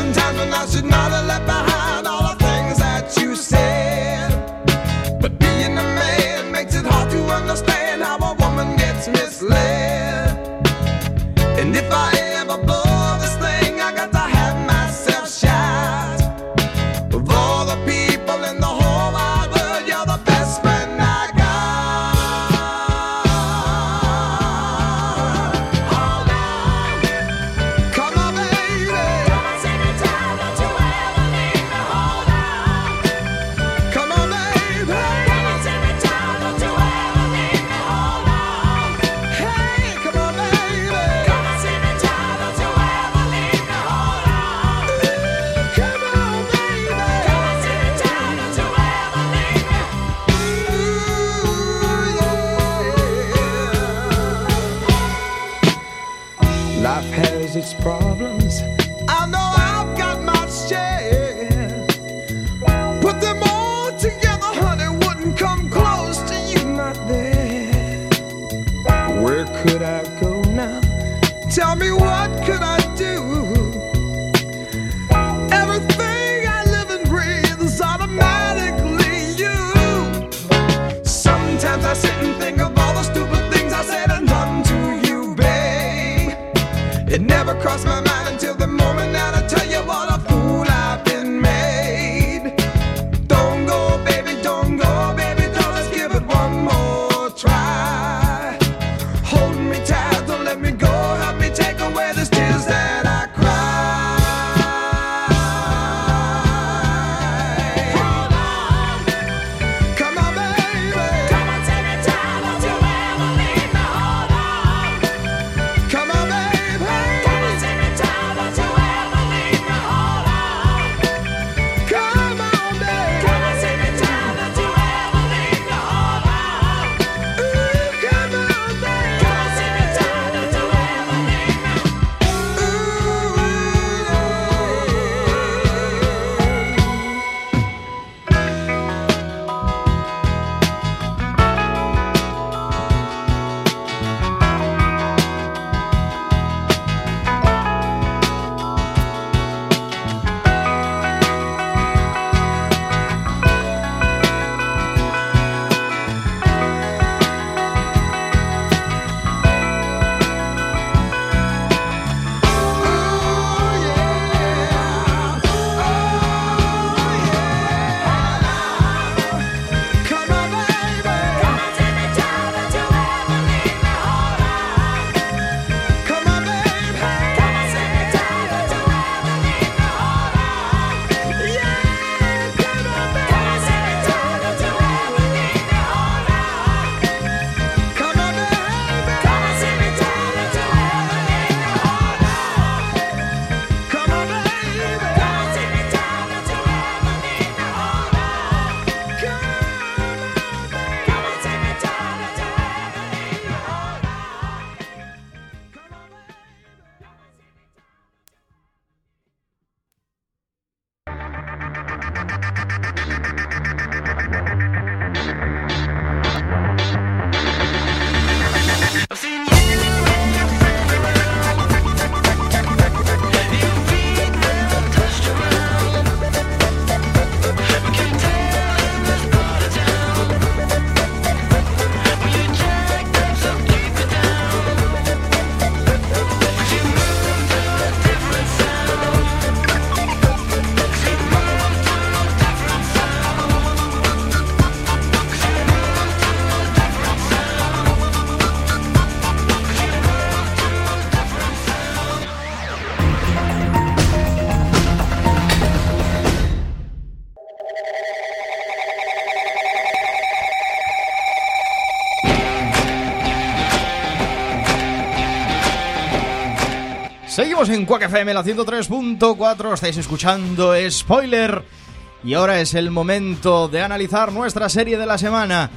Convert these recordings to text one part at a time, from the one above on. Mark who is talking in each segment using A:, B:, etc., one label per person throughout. A: time, and I should not have left behind all the things that you said. But being a man makes it hard to understand how a woman gets misled. And if I ever blow this thing, I got to have myself shot. Of all the people in the whole wide world, you're the best friend I got. Hold on. Come on, baby. Come on, baby. Hey, come on, baby. Come on, baby. Life has its problems. I know I've got my share. Put them all together, honey, wouldn't come close to you not there. Where could I go now? Tell me what could I do? Everything I live and breathe is automatically you. Sometimes I sit and think of all the stupid things I said and done to you, babe. It never crossed my mind until the moment that I tell you what a fool I've been made. Don't go, baby, don't go, baby, don't let's give it one more try. Hold me tight, don't let me go, help me take away the tears that I cry. Come on, baby. Come on, baby. Come on, baby. Ooh, come on, baby. Ooh, yeah.
B: Seguimos en Quack FM, la 103.4. Estáis escuchando Spoiler. Y ahora es el momento de analizar nuestra serie de la semana.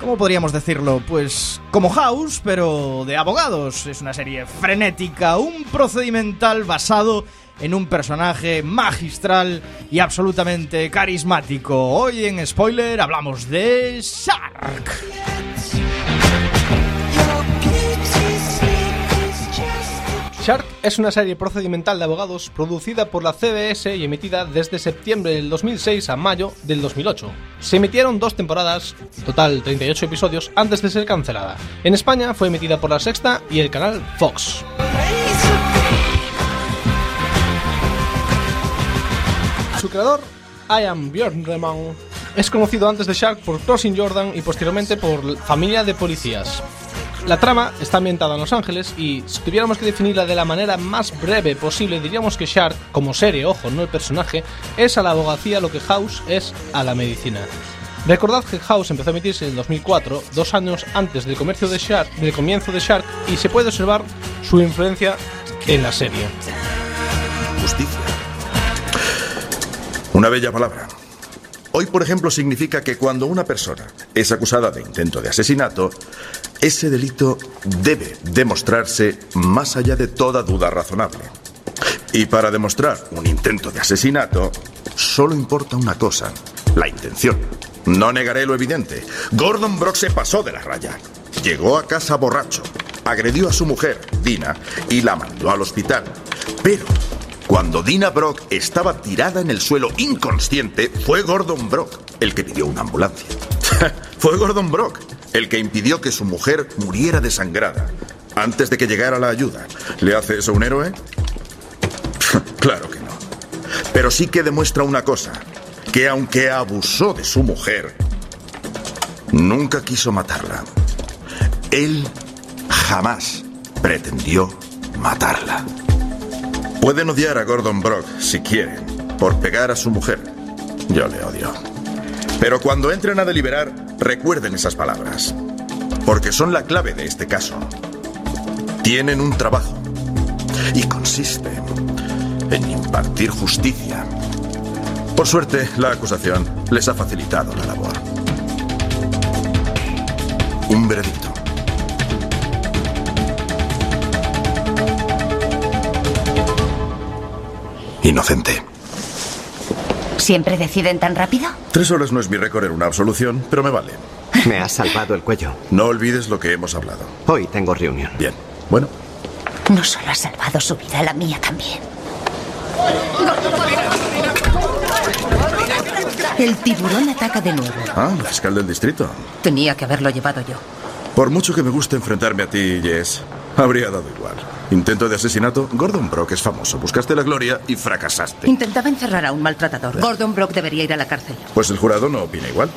B: ¿Cómo podríamos decirlo? Pues como House, pero de abogados. Es una serie frenética, un procedimental basado en un personaje magistral y absolutamente carismático. Hoy en Spoiler hablamos de Shark.
C: Shark es una serie procedimental de abogados producida por la CBS y emitida desde septiembre del 2006 a mayo del 2008. Se emitieron dos temporadas, total 38 episodios, antes de ser cancelada. En España fue emitida por la Sexta y el canal Fox. Su creador, Ian Bjornreman, es conocido antes de Shark por Crossing Jordan y posteriormente por Familia de Policías. La trama está ambientada en Los Ángeles y si tuviéramos que definirla de la manera más breve posible diríamos que Shark, como serie, ojo, no el personaje, es a la abogacía lo que House es a la medicina. Recordad que House empezó a emitirse en el 2004, dos años antes del, comercio de Shark, del comienzo de Shark, y se puede observar su influencia en la serie.
D: Justicia. Una bella palabra. Hoy, por ejemplo, significa que cuando una persona es acusada de intento de asesinato, ese delito debe demostrarse más allá de toda duda razonable. Y para demostrar un intento de asesinato, solo importa una cosa, la intención. No negaré lo evidente. Gordon Brock se pasó de la raya. Llegó a casa borracho, agredió a su mujer, Dina, y la mandó al hospital. Pero cuando Dina Brock estaba tirada en el suelo inconsciente, fue Gordon Brock el que pidió una ambulancia. fue Gordon Brock el que impidió que su mujer muriera desangrada antes de que llegara la ayuda. ¿Le hace eso un héroe? claro que no. Pero sí que demuestra una cosa, que aunque abusó de su mujer, nunca quiso matarla. Él jamás pretendió matarla. Pueden odiar a Gordon Brock si quieren, por pegar a su mujer. Yo le odio. Pero cuando entren a deliberar, recuerden esas palabras, porque son la clave de este caso. Tienen un trabajo y consiste en impartir justicia. Por suerte, la acusación les ha facilitado la labor. Un veredicto. Inocente.
E: ¿Siempre deciden tan rápido?
D: Tres horas no es mi récord en una absolución, pero me vale.
F: Me has salvado el cuello.
D: No olvides lo que hemos hablado.
F: Hoy tengo reunión.
D: Bien. Bueno,
E: No solo has salvado su vida, la mía también. El tiburón ataca de nuevo.
D: ah, la fiscal del distrito.
E: Tenía que haberlo llevado yo.
D: Por mucho que me guste enfrentarme a ti, Jess, habría dado igual. Intento de asesinato, Gordon Brock es famoso. Buscaste la gloria y fracasaste.
E: Intentaba encerrar a un maltratador. Gordon Brock debería ir a la cárcel.
D: Pues el jurado no opina igual.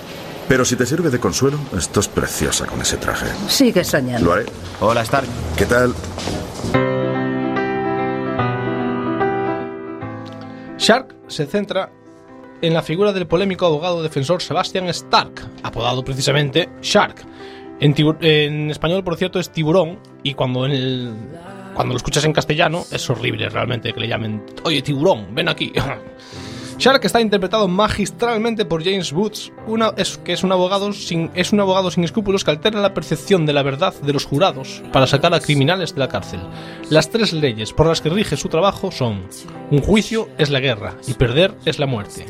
D: Pero si te sirve de consuelo, estás preciosa con ese traje.
E: Sigue soñando.
D: Lo haré.
F: Hola, Stark.
D: ¿Qué tal?
C: Shark se centra en la figura del polémico abogado defensor Sebastian Stark, apodado precisamente Shark. En, tibu- en español, por cierto, es tiburón y cuando, en el- cuando lo escuchas en castellano es horrible realmente que le llamen, oye tiburón, ven aquí. Shark está interpretado magistralmente por James Woods, una- es, que es un, abogado sin, es un abogado sin escrúpulos que altera la percepción de la verdad de los jurados para sacar a criminales de la cárcel. Las tres leyes por las que rige su trabajo son un juicio es la guerra y perder es la muerte.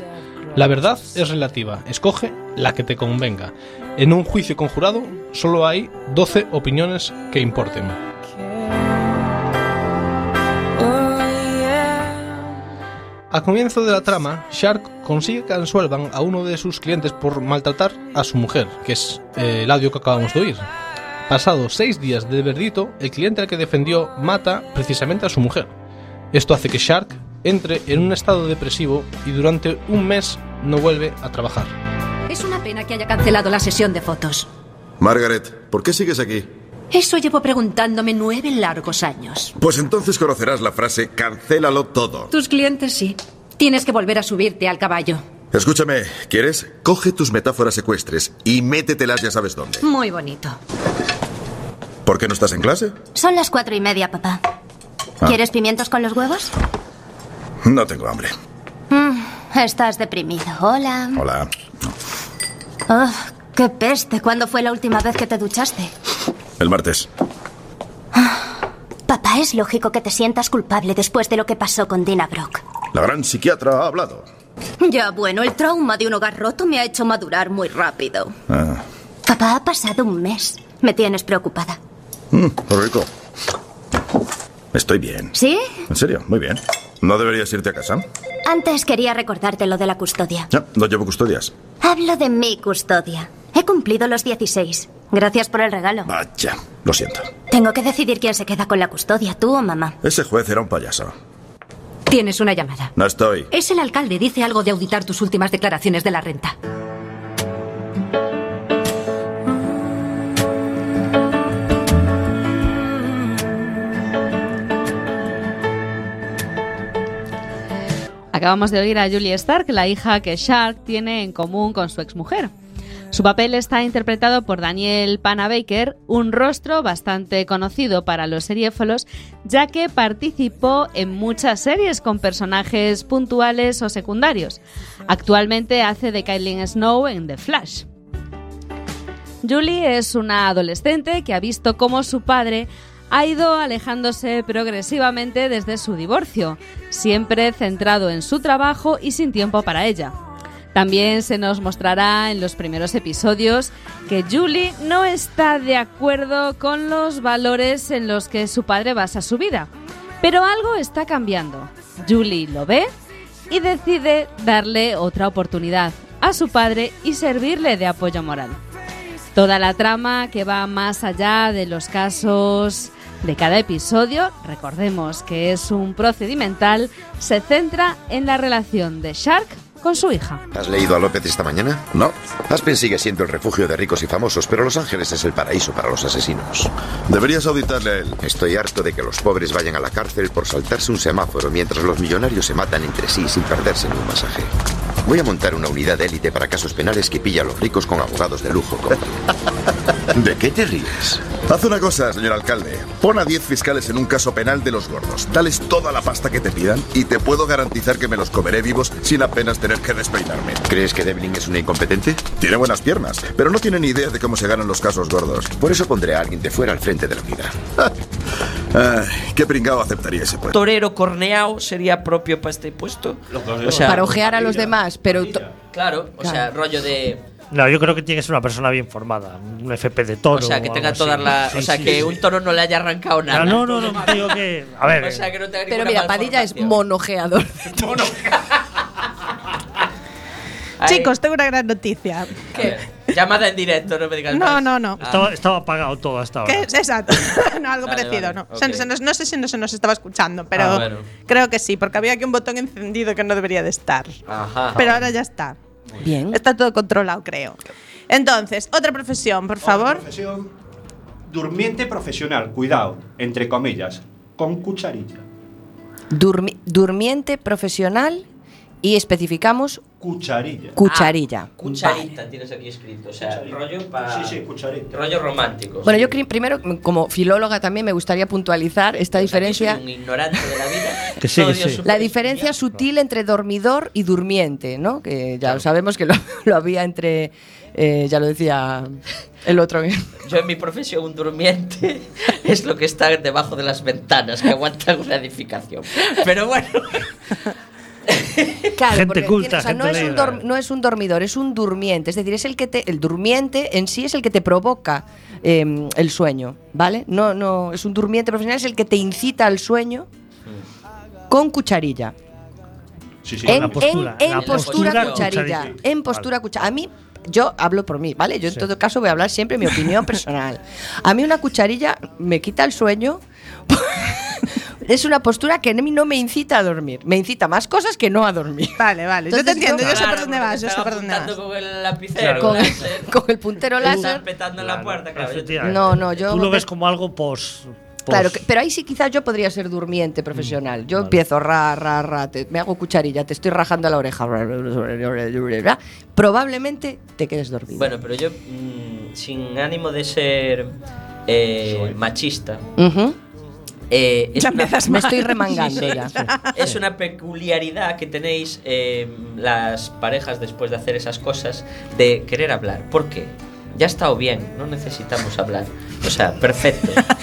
C: La verdad es relativa, escoge la que te convenga. En un juicio conjurado solo hay 12 opiniones que importen. Al comienzo de la trama, Shark consigue que absuelvan a uno de sus clientes por maltratar a su mujer, que es eh, el audio que acabamos de oír. Pasados seis días de verdito, el cliente al que defendió mata precisamente a su mujer. Esto hace que Shark entre en un estado depresivo y durante un mes no vuelve a trabajar.
G: Es una pena que haya cancelado la sesión de fotos.
D: Margaret, ¿por qué sigues aquí?
G: Eso llevo preguntándome nueve largos años.
D: Pues entonces conocerás la frase cancélalo todo.
G: Tus clientes sí. Tienes que volver a subirte al caballo.
D: Escúchame, ¿quieres? Coge tus metáforas secuestres y métetelas ya sabes dónde.
G: Muy bonito.
D: ¿Por qué no estás en clase?
H: Son las cuatro y media, papá.
D: Ah.
H: ¿Quieres pimientos con los huevos?
D: No tengo hambre.
H: Mm, estás deprimido. Hola.
D: Hola.
H: Oh, ¡Qué peste! ¿Cuándo fue la última vez que te duchaste?
D: El martes.
H: Papá, es lógico que te sientas culpable después de lo que pasó con Dina Brock.
D: La gran psiquiatra ha hablado.
H: Ya bueno, el trauma de un hogar roto me ha hecho madurar muy rápido.
D: Ah.
H: Papá,
I: Mm,
H: ha pasado un mes. Me tienes preocupada.
D: Mm, rico. Estoy bien.
H: ¿Sí?
D: En serio, muy bien. ¿No deberías irte a casa?
H: Antes quería recordarte lo de la custodia.
D: No, no llevo custodias.
H: Hablo de mi custodia. He cumplido los 16. Gracias por el regalo.
D: Vaya, lo siento.
H: Tengo que decidir quién se queda con la custodia, tú o mamá.
D: Ese juez era un payaso.
G: Tienes una llamada.
D: No estoy.
G: Es el alcalde, dice algo de auditar tus últimas declaraciones de la renta.
J: Acabamos de oír a Julie Stark, la hija que Shark tiene en común con su exmujer. Su papel está interpretado por Daniel Panabaker, un rostro bastante conocido para los seriéfalos, ya que participó en muchas series con personajes puntuales o secundarios. Actualmente hace de Caitlin Snow en The Flash. Julie es una adolescente que ha visto cómo su padre ha ido alejándose progresivamente desde su divorcio, siempre centrado en su trabajo y sin tiempo para ella. También se nos mostrará en los primeros episodios que Julie no está de acuerdo con los valores en los que su padre basa su vida. Pero algo está cambiando. Julie lo ve y decide darle otra oportunidad a su padre y servirle de apoyo moral. Toda la trama que va más allá de los casos de cada episodio, recordemos que es un procedimental, se centra en la relación de Shark con su hija.
I: ¿Has leído a López esta mañana? No. Aspen sigue siendo el refugio de ricos y famosos, pero Los Ángeles es el paraíso para los asesinos.
D: Deberías auditarle a él.
I: Estoy harto de que los pobres vayan a la cárcel por saltarse un semáforo mientras los millonarios se matan entre sí sin perderse en un masaje. Voy a montar una unidad de élite para casos penales que pilla a los ricos con abogados de lujo. como tú. ¿De qué te ríes?
D: Haz una cosa, señor alcalde. Pon a 10 fiscales en un caso penal de los gordos. Dales toda la pasta que te pidan y te puedo garantizar que me los comeré vivos sin apenas tener que despeinarme.
I: ¿Crees que Devlin es un incompetente?
D: Tiene buenas piernas, pero no tiene ni idea de cómo se ganan los casos gordos.
I: Por eso pondré a alguien de fuera al frente de la unidad.
D: Ay, qué pringao aceptaría ese puesto.
K: Torero corneado sería propio para este puesto. O sea,
L: para ojear a los demás, pero... to-
K: claro, o sea, rollo de.
M: No, yo creo que tiene que ser una persona bien formada. Un FP de toro.
K: O sea, que
M: o
K: tenga
M: algo
K: todas
M: así.
K: las. O
M: Sí,
K: sea,
M: sí,
K: que
M: sí.
K: un toro no le haya arrancado nada.
M: No, no, no, digo que. A ver.
K: O sea, que no tenga
L: Pero
K: ninguna
L: mira, Padilla es
K: malformación.
L: monojeador.
K: Ay,
N: Chicos, tengo una gran noticia.
K: ¿qué? Llamada en directo, no me digas
N: No,
K: más. Ah.
N: no, no.
M: Estaba, estaba apagado todo hasta ahora.
N: ¿Qué es exacto? no, algo
K: Vale,
N: parecido,
K: vale,
N: ¿no?
K: ok.
N: Se- se nos- no sé si no se nos estaba escuchando, pero
K: Ah, bueno.
N: creo que sí, porque había aquí un botón encendido que no debería de estar.
K: Ajá.
N: Pero ahora ya está.
L: Bien.
N: Está todo controlado, creo. Entonces, otra profesión, por favor.
O: Profesión, durmiente profesional, cuidado, entre comillas, con cucharilla.
L: Durmi- durmiente profesional y especificamos Ah,
O: Cucharilla.
L: cucharilla.
K: Ah, Cucharita tienes aquí escrito, o sea, rollo para.
O: Sí, sí, cucharita.
K: Rollo romántico.
L: Bueno,
K: sí.
L: yo cri- primero, como filóloga también me gustaría puntualizar esta
K: Pues Aquí
L: diferencia,
K: soy un ignorante de la vida.
M: Que sí,
K: Todo
M: que
K: Dios
M: sí.
K: su-
L: la diferencia sutil entre dormidor y durmiente, ¿no? Que ya sabemos que lo, lo había entre, eh, ya lo decía el otro.
K: Yo en mi profesión, un durmiente es lo que está debajo de las ventanas, que aguanta una edificación. Pero bueno,
L: Claro,
M: Gente
L: porque
M: culta,
L: o sea, no,
M: gente
L: es un
M: leída.
L: dorm- no es un dormidor, es un durmiente. Es decir, es el que te, el durmiente en sí es el que te provoca eh, el sueño, ¿vale? No, no, es un durmiente profesional, es el que te incita al sueño con cucharilla.
O: Sí, sí,
L: en,
M: la postura,
L: en- en
M: la
L: postura
M: postura
L: cucharilla.
M: cucharilla.
L: En postura cucharilla. A mí, yo hablo por mí, ¿vale? Yo en
M: Sí.
L: todo caso voy a hablar siempre mi opinión personal. A mí una cucharilla me quita el sueño. es una postura que a mí no me incita a dormir. Me incita a más cosas que no a dormir.
N: Vale, vale. yo te
L: Entonces,
N: entiendo, yo sé
K: Claro,
N: por dónde
K: porque
N: vas, yo sé
K: estaba
N: por dónde vas.
K: apuntando con el lapicero.
M: Claro.
L: Con,
K: puede ser.
L: con el puntero
K: Te
L: láser.
K: Están petando la puerta, claro. yo te-
M: Efectivamente.
L: No, no, yo-
M: Tú lo ves como algo pos. pos-
L: Claro, que- pero ahí sí quizás yo podría ser durmiente profesional. Yo empiezo ra, ra, ra, te- me hago cucharilla, te estoy rajando la oreja. ra, ra, ra, ra, ra, ra. Probablemente te quedes dormido.
K: Bueno, pero yo, mm, sin ánimo de ser eh, machista,
L: Ujú.
K: eh, es,
N: Ya
K: una,
N: empiezas
L: Me
N: mal.
L: estoy remangando ya.
K: es una peculiaridad que tenéis eh, las parejas después de hacer esas cosas de querer hablar. ¿Por qué? Ya ha estado bien, no necesitamos hablar. O sea, perfecto.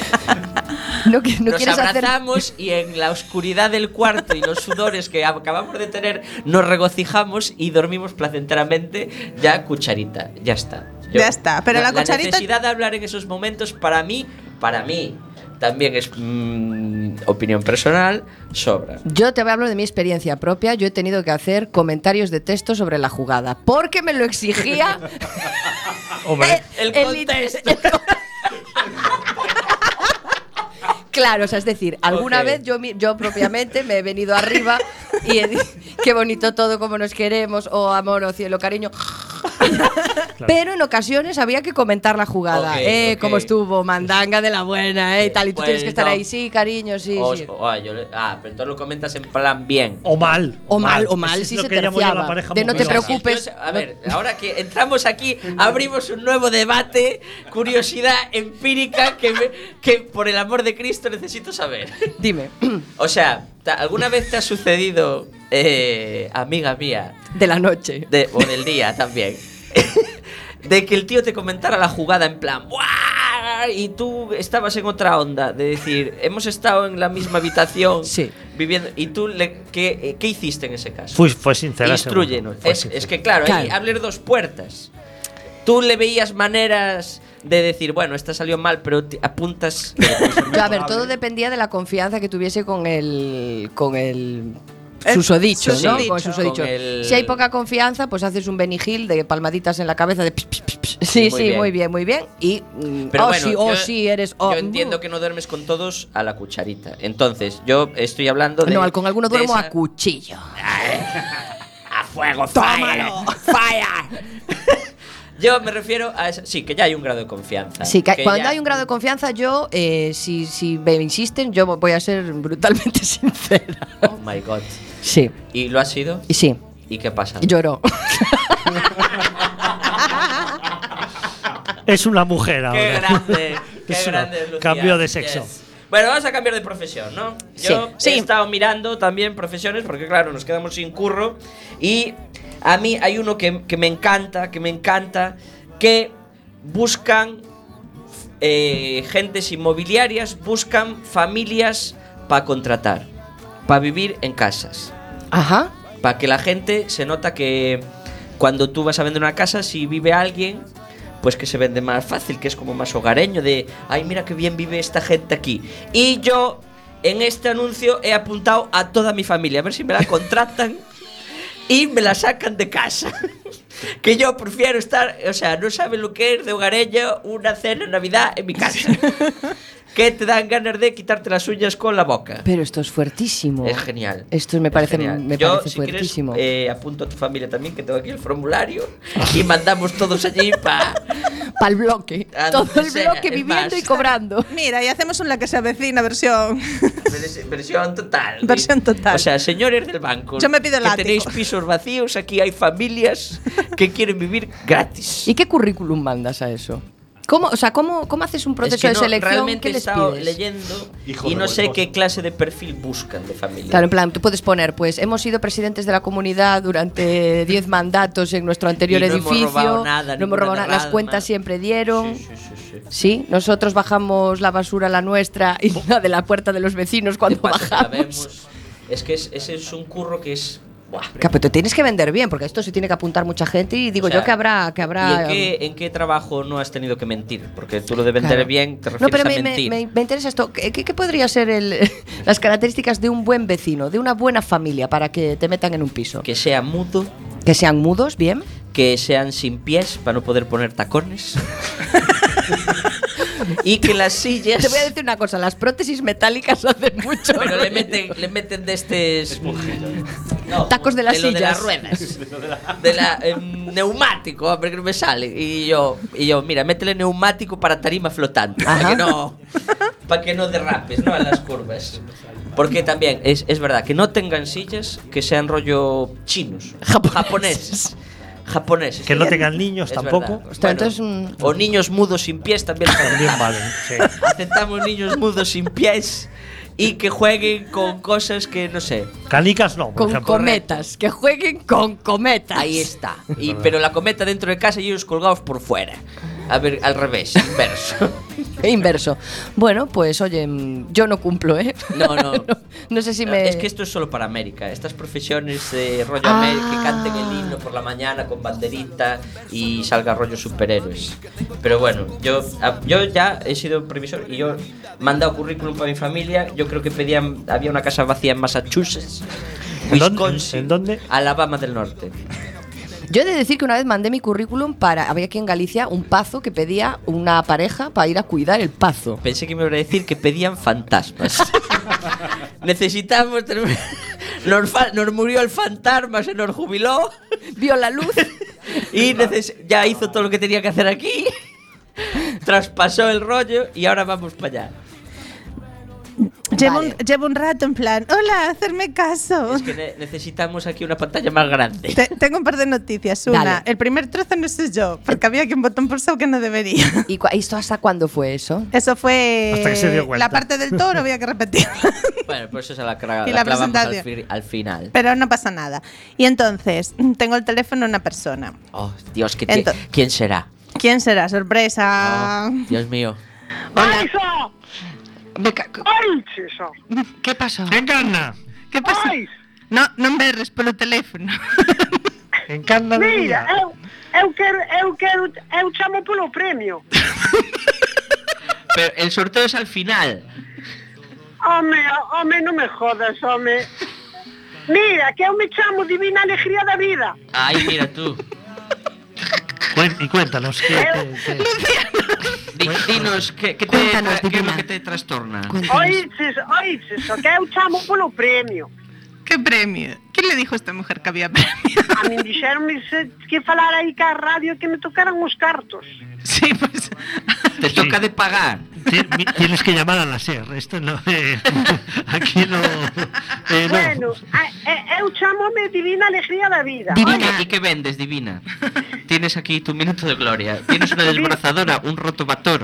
L: No, que- no
K: nos
L: quieres hacer
K: abrazamos y en la oscuridad del cuarto y los sudores que acabamos de tener nos regocijamos y dormimos placenteramente ya cucharita, ya está.
N: Ya está, pero la cucharita-
K: necesidad de hablar en esos momentos para mí, para mí también es mm, opinión personal, sobra.
L: Yo te voy a hablar de mi experiencia propia. Yo he tenido que hacer comentarios de texto sobre la jugada. Porque me lo exigía.
M: Hombre.
L: el, contexto. Claro, o sea, es decir, alguna
N: Ok.
L: vez yo, mi- yo propiamente me he venido arriba y he dicho, qué bonito todo, como nos queremos, o amor, o cielo, cariño. Pero en ocasiones había que comentar la jugada,
K: Ok,
L: eh,
K: ok.
L: cómo estuvo, mandanga de la buena, eh, y tal, y tú
K: Bueno.
L: tienes que estar ahí, sí, cariño, sí,
K: O-
L: sí.
K: o- ah, yo le- ah, pero tú lo comentas en plan bien.
M: O mal.
L: O mal, o mal,
M: Eso
L: si
M: es lo
L: se
M: que llamo yo
L: terciaba.
M: la pareja
L: De no te
M: mofiosa.
L: preocupes.
K: A ver, ahora que entramos aquí, abrimos un nuevo debate, curiosidad empírica que, me- que por el amor de Cristo necesito saber.
L: Dime.
K: O sea, ta- ¿alguna vez te ha sucedido, eh, amiga mía,
L: De la noche.
K: de- o del día también, de que el tío te comentara la jugada en plan, "Buah", y tú estabas en otra onda, de decir, hemos estado en la misma habitación, viviendo, y tú, le- ¿qué, eh, qué hiciste en ese caso?
M: Fui, fue sincera.
K: Instruyenos.
M: seguro. Fue
K: Es,
M: sincera.
K: es que claro, ahí
M: Claro.
K: abres dos puertas. Tú le veías maneras de decir, bueno, esta salió mal, pero te apuntas.
L: Yo, a ver, todo dependía de la confianza que tuviese con el. con el.
K: El
L: Susodicho, ¿no?
K: susodicho.
L: Con el susodicho.
K: Con el-
L: Si hay poca confianza, pues haces un benigil de palmaditas en la cabeza de. psh, psh, psh, psh. Sí, sí,
K: muy
L: muy
K: bien.
L: bien. muy bien, Y. mm,
K: Pero
L: oh,
K: bueno,
L: sí, oh,
K: yo-
L: sí, eres. oh,
K: Yo entiendo que no duermes con todos a la cucharita. Entonces, yo estoy hablando de.
L: No, al- con alguno
K: de
L: duermo
K: esa-
L: a cuchillo.
K: a fuego, ¡Tómalo! ¡Fire! yo me refiero a. esa- sí, que ya hay un grado de confianza.
L: Sí, que cuando
K: ya-
L: hay un grado de confianza, yo, eh, si, si me insisten, yo voy a ser brutalmente sincera.
K: Oh my god.
L: Sí.
K: ¿Y lo ha sido?
L: Y sí.
K: ¿Y qué pasa?
L: Lloro.
M: Es una mujer ahora.
K: Qué grande, qué
M: Es una-
K: grande, Lucía.
M: Cambio de sexo.
K: Yes. Bueno, vamos a cambiar de profesión, ¿no? Yo he estado mirando también profesiones porque, claro, nos quedamos sin curro. Y a mí hay uno que, que me encanta, que me encanta, que buscan eh, gentes inmobiliarias, buscan familias para contratar, para vivir en casas.
L: Ajá.
K: Para que la gente se nota que cuando tú vas a vender una casa, si vive alguien, pues que se vende más fácil, que es como más hogareño, de, ay, mira qué bien vive esta gente aquí. Y yo en este anuncio he apuntado a toda mi familia, a ver si me la contratan y me la sacan de casa. que yo prefiero estar, o sea, no sabe lo que es de hogareño una cena de Navidad en mi casa. que te dan ganas de quitarte las uñas con la boca.
L: Pero esto es fuertísimo.
K: Es genial.
L: Esto me
K: Es
L: parece,
K: genial.
L: me
K: Yo,
L: parece
K: si quieres,
L: fuertísimo.
K: eh, apunto a tu familia también, que tengo aquí el formulario. y mandamos todos allí para.
L: Para el bloque.
K: Ah,
L: Todo
K: donde
L: el
K: sea,
L: bloque
K: es
L: viviendo
K: más.
L: y cobrando.
N: Mira, y hacemos un la que se avecina versión.
K: Versión total.
N: Versión total.
K: O sea, señores del banco.
N: Yo me pido el
K: que
N: ático.
K: tenéis pisos vacíos, aquí hay familias que quieren vivir gratis.
L: ¿Y qué currículum mandas a eso? ¿Cómo, o sea, ¿cómo, cómo haces un proceso
K: Es que
L: de
K: no,
L: selección?
K: realmente
L: ¿Qué
K: he
L: les
K: estado
L: pides?
K: leyendo
L: Hijo
K: y
L: de
K: no sé
L: golposo.
K: qué clase de perfil buscan de familia.
L: Claro, en plan, tú puedes poner, pues hemos sido presidentes de la comunidad durante 10 mandatos en nuestro anterior
K: Y no hemos
L: edificio.
K: robado nada,
L: no hemos
K: ninguna
L: robado nada, Las
K: derrama.
L: cuentas siempre dieron. Sí, nosotros bajamos la basura la nuestra
K: Oh.
L: y la de la puerta de los vecinos cuando
K: La
L: bajamos.
K: vemos. Es que es- ese es un curro que es. Buah.
L: Claro, pero te tienes que vender bien, porque esto se tiene que apuntar mucha gente y digo
K: O sea,
L: yo que habrá, que habrá. um,
K: ¿Y en qué, en qué trabajo no has tenido que mentir? Porque tú lo de vender
L: Claro.
K: bien te refieres
L: No, pero
K: a
L: me, me-
K: mentir.
L: me- me interesa esto. ¿Qué, qué- qué podría ser el- las características de un buen vecino, de una buena familia para que te metan en un piso?
K: Que sea mudo,
L: Que sean mudos, bien.
K: que sean sin pies para no poder poner tacones. y que las sillas.
L: Te voy a decir una cosa, las prótesis metálicas hacen mucho.
K: Pero le
L: ruido.
K: meten, le meten de estos.
L: Tacos de las
K: lo de las
L: sillas.
K: ruedas. de la, em, neumático, hombre, que no me sale. Y yo, y yo, mira, métele neumático para tarima flotante. Para
L: Ajá.
K: que, no, para que no derrapes, ¿no? A las curvas. Porque también es, es verdad que no tengan sillas que sean rollo chinos, japoneses. Japoneses.
M: Que no tengan niños
K: Es
M: tampoco.
K: verdad.
L: Hostia,
K: Bueno,
L: entonces, mm,
K: o niños mudos sin pies también.
M: También valen, sí.
K: Aceptamos niños mudos sin pies y que jueguen con cosas que no sé.
M: Canicas no, Pues por
L: con
M: ejemplo.
L: cometas, que jueguen con cometas.
K: Ahí está. Y, pero la cometa dentro de casa y ellos colgados por fuera. A ver, al revés, inverso.
L: E inverso. Bueno, pues oye, mm, yo no cumplo, ¿eh?
K: No, no.
L: No sé si me. Ah.
K: Es que esto es solo para América. Estas profesiones de rollo América, que canten el himno por la mañana con banderita y salga rollo superhéroes. Pero bueno, yo, a- yo ya he sido previsor y yo he mandado currículum para mi familia. Yo creo que pedían, había una casa vacía en Massachusetts.
M: ¿En dónde?
K: Wisconsin,
M: ¿En dónde?
K: Alabama del Norte.
L: Yo he de decir que una vez mandé mi currículum para. Había aquí en Galicia un pazo que pedía una pareja para ir a cuidar el pazo.
K: Pensé que me iba a decir que pedían fantasmas. Necesitamos. tener- Nos, fa- nos murió el fantasma, se nos jubiló.
L: Vio la luz.
K: Y neces- ya hizo todo lo que tenía que hacer aquí. Traspasó el rollo y ahora vamos para allá.
N: Llevo, un, llevo un rato en plan, hola, hacerme caso.
K: Que ne- necesitamos aquí una pantalla más grande.
N: Te- tengo un par de noticias. Una,
L: Dale.
N: el primer trozo no soy yo, porque había aquí un botón pulsado que no debería.
L: ¿Y cua- esto hasta cuándo fue eso?
N: Eso fue
L: Hasta que se dio cuenta.
N: la parte del toro, había que repetir.
K: Bueno, pues esa la, cra-
N: Y
K: la
N: la
K: clavamos al, fi-
N: presentación.
K: al final.
N: Pero no pasa nada. Y entonces, tengo el teléfono de una persona.
K: Oh, Dios, que tie-
N: Ento-
K: ¿quién será?
N: ¿Quién será?
L: Ah.
N: Sorpresa.
K: Dios mío.
N: Hola.
P: ¿Qué pasó?
M: Encarna.
P: ¿Qué pasó?
N: No, non berres polo teléfono.
M: Encarna de
P: Mira,
M: día.
P: eu, eu quero, eu quero, eu chamo polo premio.
K: Pero el sorteo es al final.
P: Home, home, non me jodas, home. Mira, que eu me chamo Divina Alegría da Vida.
K: Ay, mira tú.
M: Cuen- y cuéntanos, ¿qué, qué- qué-
K: dinos, ¿qué, qué te, qué es lo que te trastorna?
P: Oíches, oíches, o que eu chamo polo premio.
N: Que premio? Que le dijo esta mujer que había premio?
P: A min dixeronme se- que falara aí ca radio que me tocaran os cartos.
N: Sí, pues...
K: Te toca de pagar.
M: ti- mi- Tienes que llamar a la SER. Esto no. eh, aquí no. eh, no.
P: Bueno, a, e, eu chamome Divina Alegría da Vida.
K: ¿Y qué vendes, divina? Tienes aquí tu minuto de gloria. Tienes una desbrazadora, un rotobator,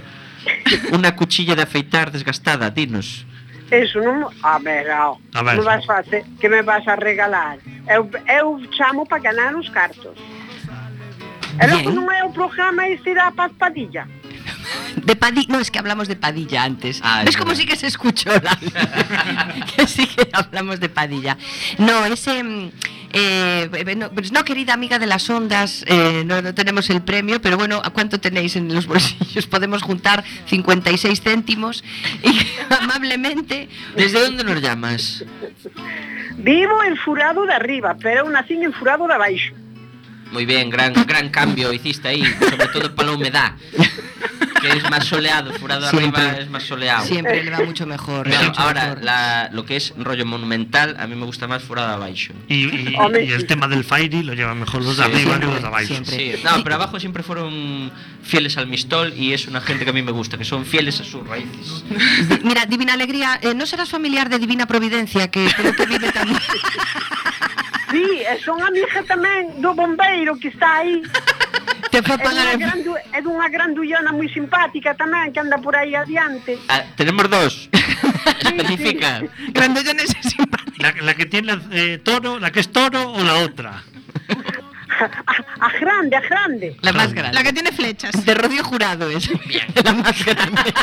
K: una cuchilla de afeitar desgastada. Dinos.
P: Eso non... A ver, ao,
K: A ver.
P: me vas a te, que me vas a regalar. Eu, eu chamo para ganar os cartos. E logo
L: Bien.
P: non é o programa este da Paz Padilla.
L: De Padilla. No, es que hablamos de Padilla antes.
K: Ah,
P: es
L: es como
P: verdad.
L: si que se escuchó la- que sí que hablamos de Padilla. No, ese. mm, eh, eh, no, pues no, querida amiga de las ondas, eh, no, no tenemos el premio, pero bueno, ¿a cuánto tenéis en los bolsillos? Podemos juntar 56 céntimos y amablemente.
K: ¿Desde dónde nos llamas?
P: Vivo en Furado de arriba, pero eu nacín en Furado de abaixo.
K: Muy bien, gran, gran cambio hiciste ahí, sobre todo para la humedad. Que es más soleado, furado arriba es más soleado.
L: Siempre le va mucho mejor.
K: Claro, ahora, la- lo que es rollo monumental, a mí me gusta más furado abajo.
M: Y, y-
K: Hombre.
M: y el tema del Fairy lo llevan mejor los de
K: Sí,
M: arriba que
K: siempre,
M: los de abajo.
K: Sí, no, pero abajo siempre fueron fieles al Mistol y es una gente que a mí me gusta, que son fieles a sus raíces.
L: Di- Mira, Divina Alegría, eh, ¿no serás familiar de Divina Providencia, que creo que vive también?
P: Sí, e son amiga tamén do bombeiro que está aí.
L: Te foi
P: é dunha, grandu, é dunha grandullona moi simpática tamén que anda por aí adiante.
K: Ah, tenemos dos. Especifica.
M: La, la que tiene eh, toro, la que es toro o la otra.
P: A grande, a grande.
L: La más grande.
N: La que tiene flechas.
L: De Rodio Jurado es. La más grande.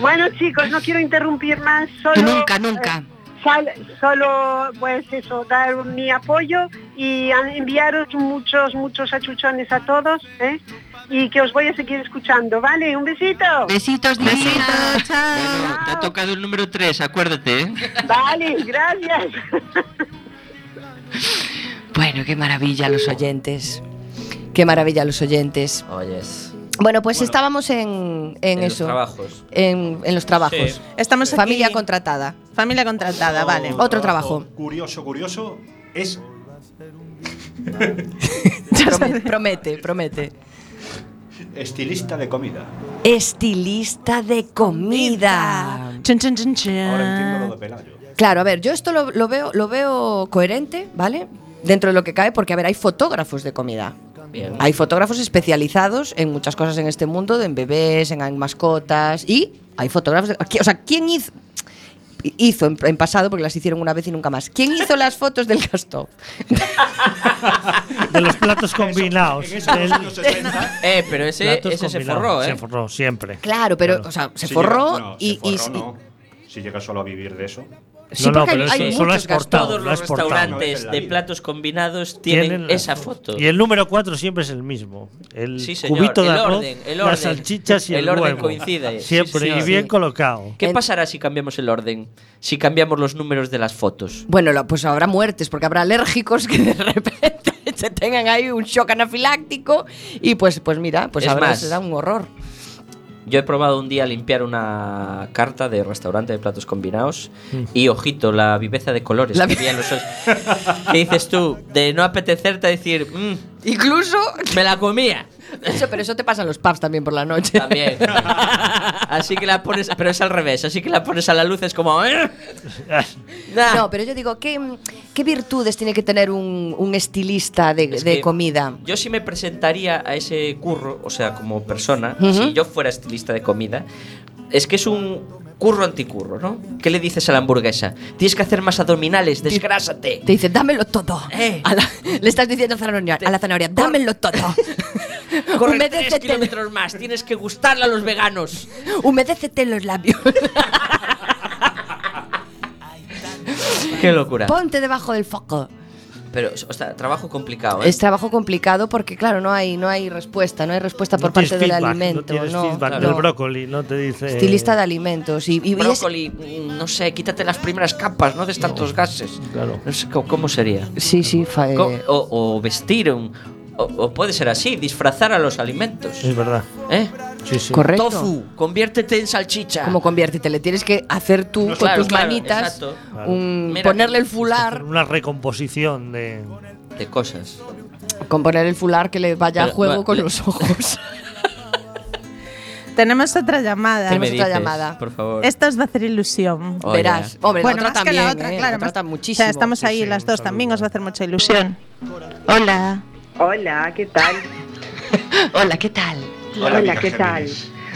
P: Bueno, chicos, no quiero interrumpir más. Solo,
L: Nunca, nunca.
P: eh, sal- solo, pues eso, dar mi apoyo y a- enviaros muchos, muchos achuchones a todos, ¿eh? Y que os voy a seguir escuchando, ¿vale? Un besito.
L: Besitos,
K: Besitos,
L: chao.
K: Te ha tocado el número 3, acuérdate, ¿eh?
P: Vale, gracias.
L: Bueno, qué maravilla los oyentes. Qué maravilla los oyentes.
K: Oyes.
L: Bueno, pues estábamos en, en
K: en los
L: eso.
K: trabajos.
L: En, en los trabajos.
O: Sí.
N: Estamos aquí-
L: Familia contratada.
N: Familia
K: Ah,
N: contratada, vale.
L: Otro trabajo.
O: Curioso, curioso es
L: Promete, promete, promete.
O: estilista de comida.
L: Estilista de comida.
N: Chun, chun, chun, chun.
O: Ahora entiendo lo de Pelayo.
L: Claro, a ver, yo esto lo, lo veo, lo veo coherente, ¿vale? Dentro de lo que cae, porque a ver, hay fotógrafos de comida.
K: Bien.
L: Hay fotógrafos especializados en muchas cosas en este mundo, en bebés, en, en mascotas y hay fotógrafos. de- aquí- o sea, ¿quién hizo? Hizo en, en pasado porque las hicieron una vez y nunca más. ¿Quién hizo las fotos del gasto?
M: de los platos combinados. del-
K: eh, pero ese,
M: Platos
K: ese se
M: combinados.
K: forró, ¿eh?
M: Se forró siempre.
L: Claro, pero, o sea, se
O: Si
L: forró
O: llega- no,
L: y.
O: se
L: y-
O: forró,
L: y-
O: no. Si llegas solo a vivir de eso.
L: Sí, No, no, porque hay- pero hay eso- eso lo muchos has gastos. cortado,
K: Todos
M: lo
K: los
M: has cortado.
K: restaurantes de platos combinados tienen,
M: Tienen la
K: esa foto.
M: Y el número 4 siempre es el mismo. El
K: Sí, señor,
M: cubito de
K: el
M: arroz,
K: orden, el orden.
M: las salchichas y
K: El
M: el,
K: orden
M: huevo.
K: coincide, sí,
M: Siempre,
K: señor.
M: y bien
K: Sí.
M: colocado.
K: ¿Qué pasará si cambiamos el orden? Si cambiamos los números de las fotos.
L: Bueno, lo- pues habrá muertes, porque habrá alérgicos que de repente se tengan ahí un shock anafiláctico y pues, pues mira, pues
K: Es
L: habrá,
K: más.
L: será un horror.
K: Yo he probado un día limpiar una carta de restaurante de platos combinados y ojito, la viveza de colores
L: Mm. La
K: que
L: vi-
K: había en los ojos. ¿Qué dices tú? De no apetecerte a decir, "Mm,
L: Incluso.
K: me la comía.
L: Eso, pero eso te pasa en los pubs también por la noche.
K: También. Así que la pones, pero es al revés, así que la pones a la luz, es como... "Eh".
L: No, pero yo digo, ¿qué, qué virtudes tiene que tener un, un estilista de,
K: Es
L: de
K: que
L: comida?
K: Yo si me presentaría a ese curro, o sea, como persona,
L: Ujú.
K: si yo fuera estilista de comida, es que es un curro anticurro, ¿no? ¿Qué le dices a la hamburguesa? Tienes que hacer más abdominales, desgrásate.
L: Te dice, dámelo todo.
K: Eh.
L: A la- le estás diciendo a la zanahoria, a la zanahoria, dámelo todo.
K: Corre
L: Humedécete.
K: tres kilómetros más, tienes que gustarle a los veganos.
L: Humedécete los labios.
K: Qué locura.
L: Ponte debajo del foco.
K: Pero, o sea, trabajo complicado, ¿eh?
L: Es trabajo complicado porque, claro, no hay, no hay respuesta, no hay respuesta por parte del
M: No
L: alimento.
M: tienes
L: no,
M: feedback
L: no.
M: del brócoli, no te dice.
K: eh.
L: Estilista de alimentos. Y, y- y es-
K: Brócoli, mm, no sé, quítate las primeras capas, no des tantos gases. Claro. No sé cómo, cómo sería.
L: Sí, sí, fa- eh,
K: Co- O, o vestir un... O, o puede ser así, disfrazar a los alimentos.
M: Es verdad.
K: ¿Eh?
M: Sí, sí.
L: Correcto.
K: Tofu, conviértete en salchicha.
L: Como conviértete, le tienes que hacer tú
K: No,
L: con
K: claro,
L: tus
K: claro,
L: manitas,
K: exacto.
L: un-
K: Mira,
L: ponerle el fular,
M: Una recomposición de.
K: De cosas.
L: con poner el fular que le vaya a
M: Pero,
L: juego
M: bueno,
L: con
M: le-
L: los ojos.
N: Tenemos otra llamada.
K: ¿Qué me dices, por favor?
N: Esta os va a hacer ilusión.
K: Oye. Verás.
L: Hombre, la
N: bueno,
L: otra
N: más que la
L: también,
N: otra,
L: ¿eh?
N: claro.
L: La otra
N: más-
L: está
N: O sea,
L: muchísimo.
N: estamos
L: Sí,
N: ahí
L: sí,
N: las
L: un
N: dos
L: saludo.
N: también, os va a hacer mucha ilusión.
Q: Hola. Hola, ¿qué tal?
R: Hola, ¿qué tal?
Q: Hola, ¿qué tal?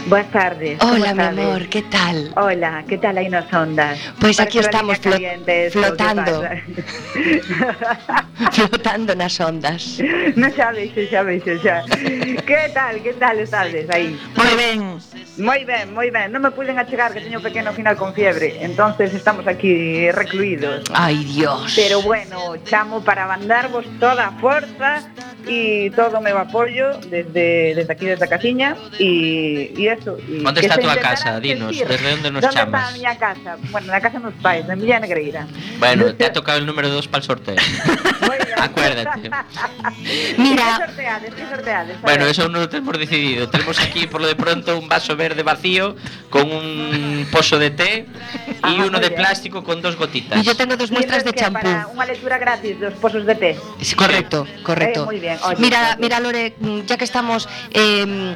Q: Buenas tardes.
R: Hola,
Q: ¿cómo
R: mi
Q: estás?
R: amor, ¿qué tal?
Q: Hola, ¿qué tal ahí nos ondas?
R: Pues
Q: Parece
R: aquí estamos
Q: Valeria
R: flo-
Q: Calientes, ¿o qué
R: flotando.
Q: pasa?
R: Flotando en las ondas.
Q: No sabéis, no sabéis, no sabéis. ¿Qué tal, qué tal estáis ahí?
R: Muy bien.
Q: Muy bien, muy bien. No me pueden achegar que tengo un pequeño final con fiebre, entonces estamos aquí recluidos.
R: Ay, Dios.
Q: Pero bueno, chamo para mandarvos toda a forza e todo o meu apoio desde, desde aquí, desde a casiña e, e eso. E
K: Onde
Q: que
K: está a
Q: se
K: túa casa,
Q: intentara
K: dinos?
Q: sentir.
K: Desde onde nos
Q: ¿Dónde
K: chamas?
Q: está a miña casa? Bueno, na casa dos pais, na miña negreira.
K: Bueno, te ha tocado el número 2 para el sorteo. Acuérdate.
Q: Mira. Que sorteades, que sorteades.
K: Bueno, eso aún no lo tenemos decidido. Tenemos aquí por lo de pronto un vaso verde vacío con un pozo de té
R: Ah,
K: y uno de plástico con dos gotitas.
Q: tengo dos
R: muestras de champú.
Q: Para una lectura gratis dos pozos de té.
R: Sí, correcto, correcto.
Q: Eh, muy bien, oye,
R: mira,
Q: gracias.
R: mira, Lore, mm, ya que estamos, eh,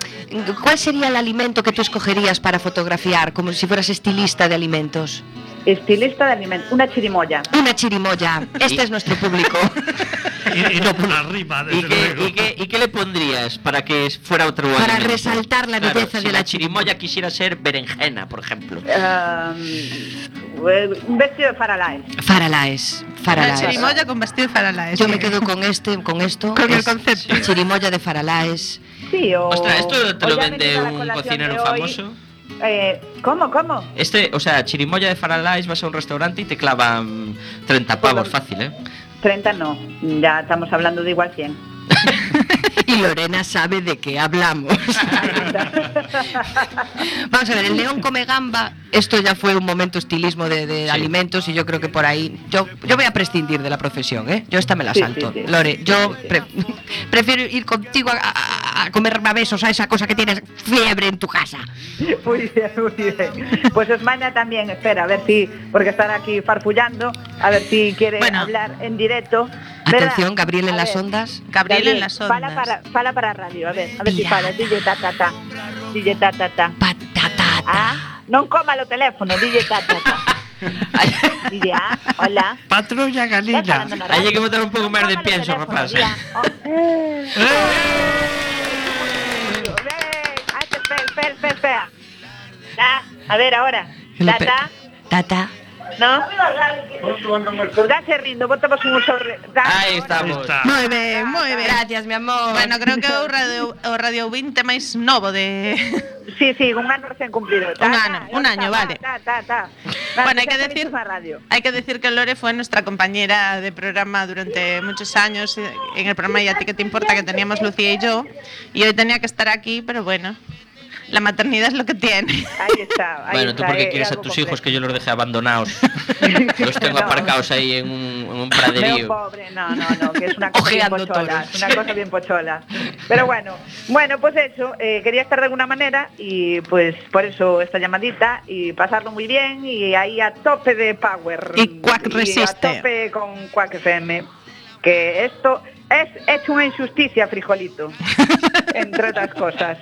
R: ¿cuál sería el alimento que tú escogerías para fotografiar, como si fueras estilista de alimentos?
Q: Estilista de alimentos, una chirimoya.
R: Una chirimoya. Este es nuestro público.
M: Y, y no por la rima, desde
K: ¿Y qué,
M: luego.
K: y qué- y qué le pondrías para que fuera otro
R: Para
K: alimento?
R: resaltar la
K: Claro,
R: belleza
K: si
R: de la
K: chirimoya quisiera ser berenjena, por ejemplo.
Q: Eh, un vestido de faralaes.
R: Faralaes. Faralaes.
N: Una Eh, chirimoya con vestido de faralaes.
R: Yo me quedo con este, con esto. Con el concepto. Chirimoya de Faralaes.
Q: Sí, o...
K: Ostras, esto te
Q: o
K: lo
Q: ya
K: vende
Q: venís a la
K: un
Q: colación
K: cocinero
Q: de hoy.
K: famoso.
Q: Eh, ¿Cómo, cómo?
K: Este, o sea, chirimoya de Faralaes, vas a un restaurante y te clavan 30 pavos fácil, ¿eh?
Q: 30 no, ya estamos hablando de igual 100.
R: Y Lorena sabe de qué hablamos. Vamos a ver, el león come gamba. Esto ya fue un momento estilismo de, de alimentos y yo creo que por ahí. Yo, yo voy a prescindir de la profesión, ¿eh? Yo esta me la
Q: Sí,
R: salto.
Q: sí, sí.
R: Lore, yo pre- prefiero ir contigo a, a- a comer besos a esa cosa que tienes fiebre en tu casa.
Q: Muy bien, muy bien. Pues Osmania también, espera, a ver si, porque están aquí farfullando, a ver si quiere hablar en directo. ¿Verdad?
R: Atención, Gabriel en
Q: A
R: las
Q: ver,
R: ondas.
Q: Fala para, fala para radio, a ver, a ver si fala. DJ ta ta ta. DJ ta ta ta. Ah, non coma o teléfono, DJ ta ta ta. DJ, ah, hola.
M: Patrulla Galina.
K: Ahí hay que botar un poco más de pienso, rapaz. ¿eh?
Q: Espera, espera, espera. Ta, A ver ahora. Ta ta.
R: Tata.
Q: ¿No? Dase rindo, botamos un sobre. Ahí
R: estamos.
N: Moi ben, moi ben.
Q: Gracias, mi amor.
S: Bueno, creo que o Radio, o radio 20 máis novo de...
Q: Sí, sí, un ano recén cumplido.
S: Un ano, un año, vale.
Q: Ta, ta, ta.
S: Bueno, hay que decir hay que decir que Lore fue nuestra compañera de programa durante muchos años eh, en el programa ¿Y a ti qué te importa? que teníamos Lucía y yo y hoy tenía que estar aquí, pero bueno, la maternidad es lo que tiene.
Q: Ahí está, ahí
K: Bueno, tú
Q: está.
K: porque
Q: eh,
K: quieres a
Q: algo
K: tus hijos que yo los dejé abandonados. los tengo aparcados ahí en un, en un
Q: Veo
K: praderío.
Q: pobre, no, no, no, que es una cosa bien
R: Ojeando
Q: pochola,
R: toros.
Q: es una cosa bien pochola. Pero bueno, bueno, pues eso, eh, quería estar de alguna manera y pues por eso esta llamadita y pasarlo muy bien y ahí a tope de power.
S: Y Quack
Q: a
S: resiste.
Q: tope con Quack FM, que esto es, es una injusticia, frijolito, entre otras cosas,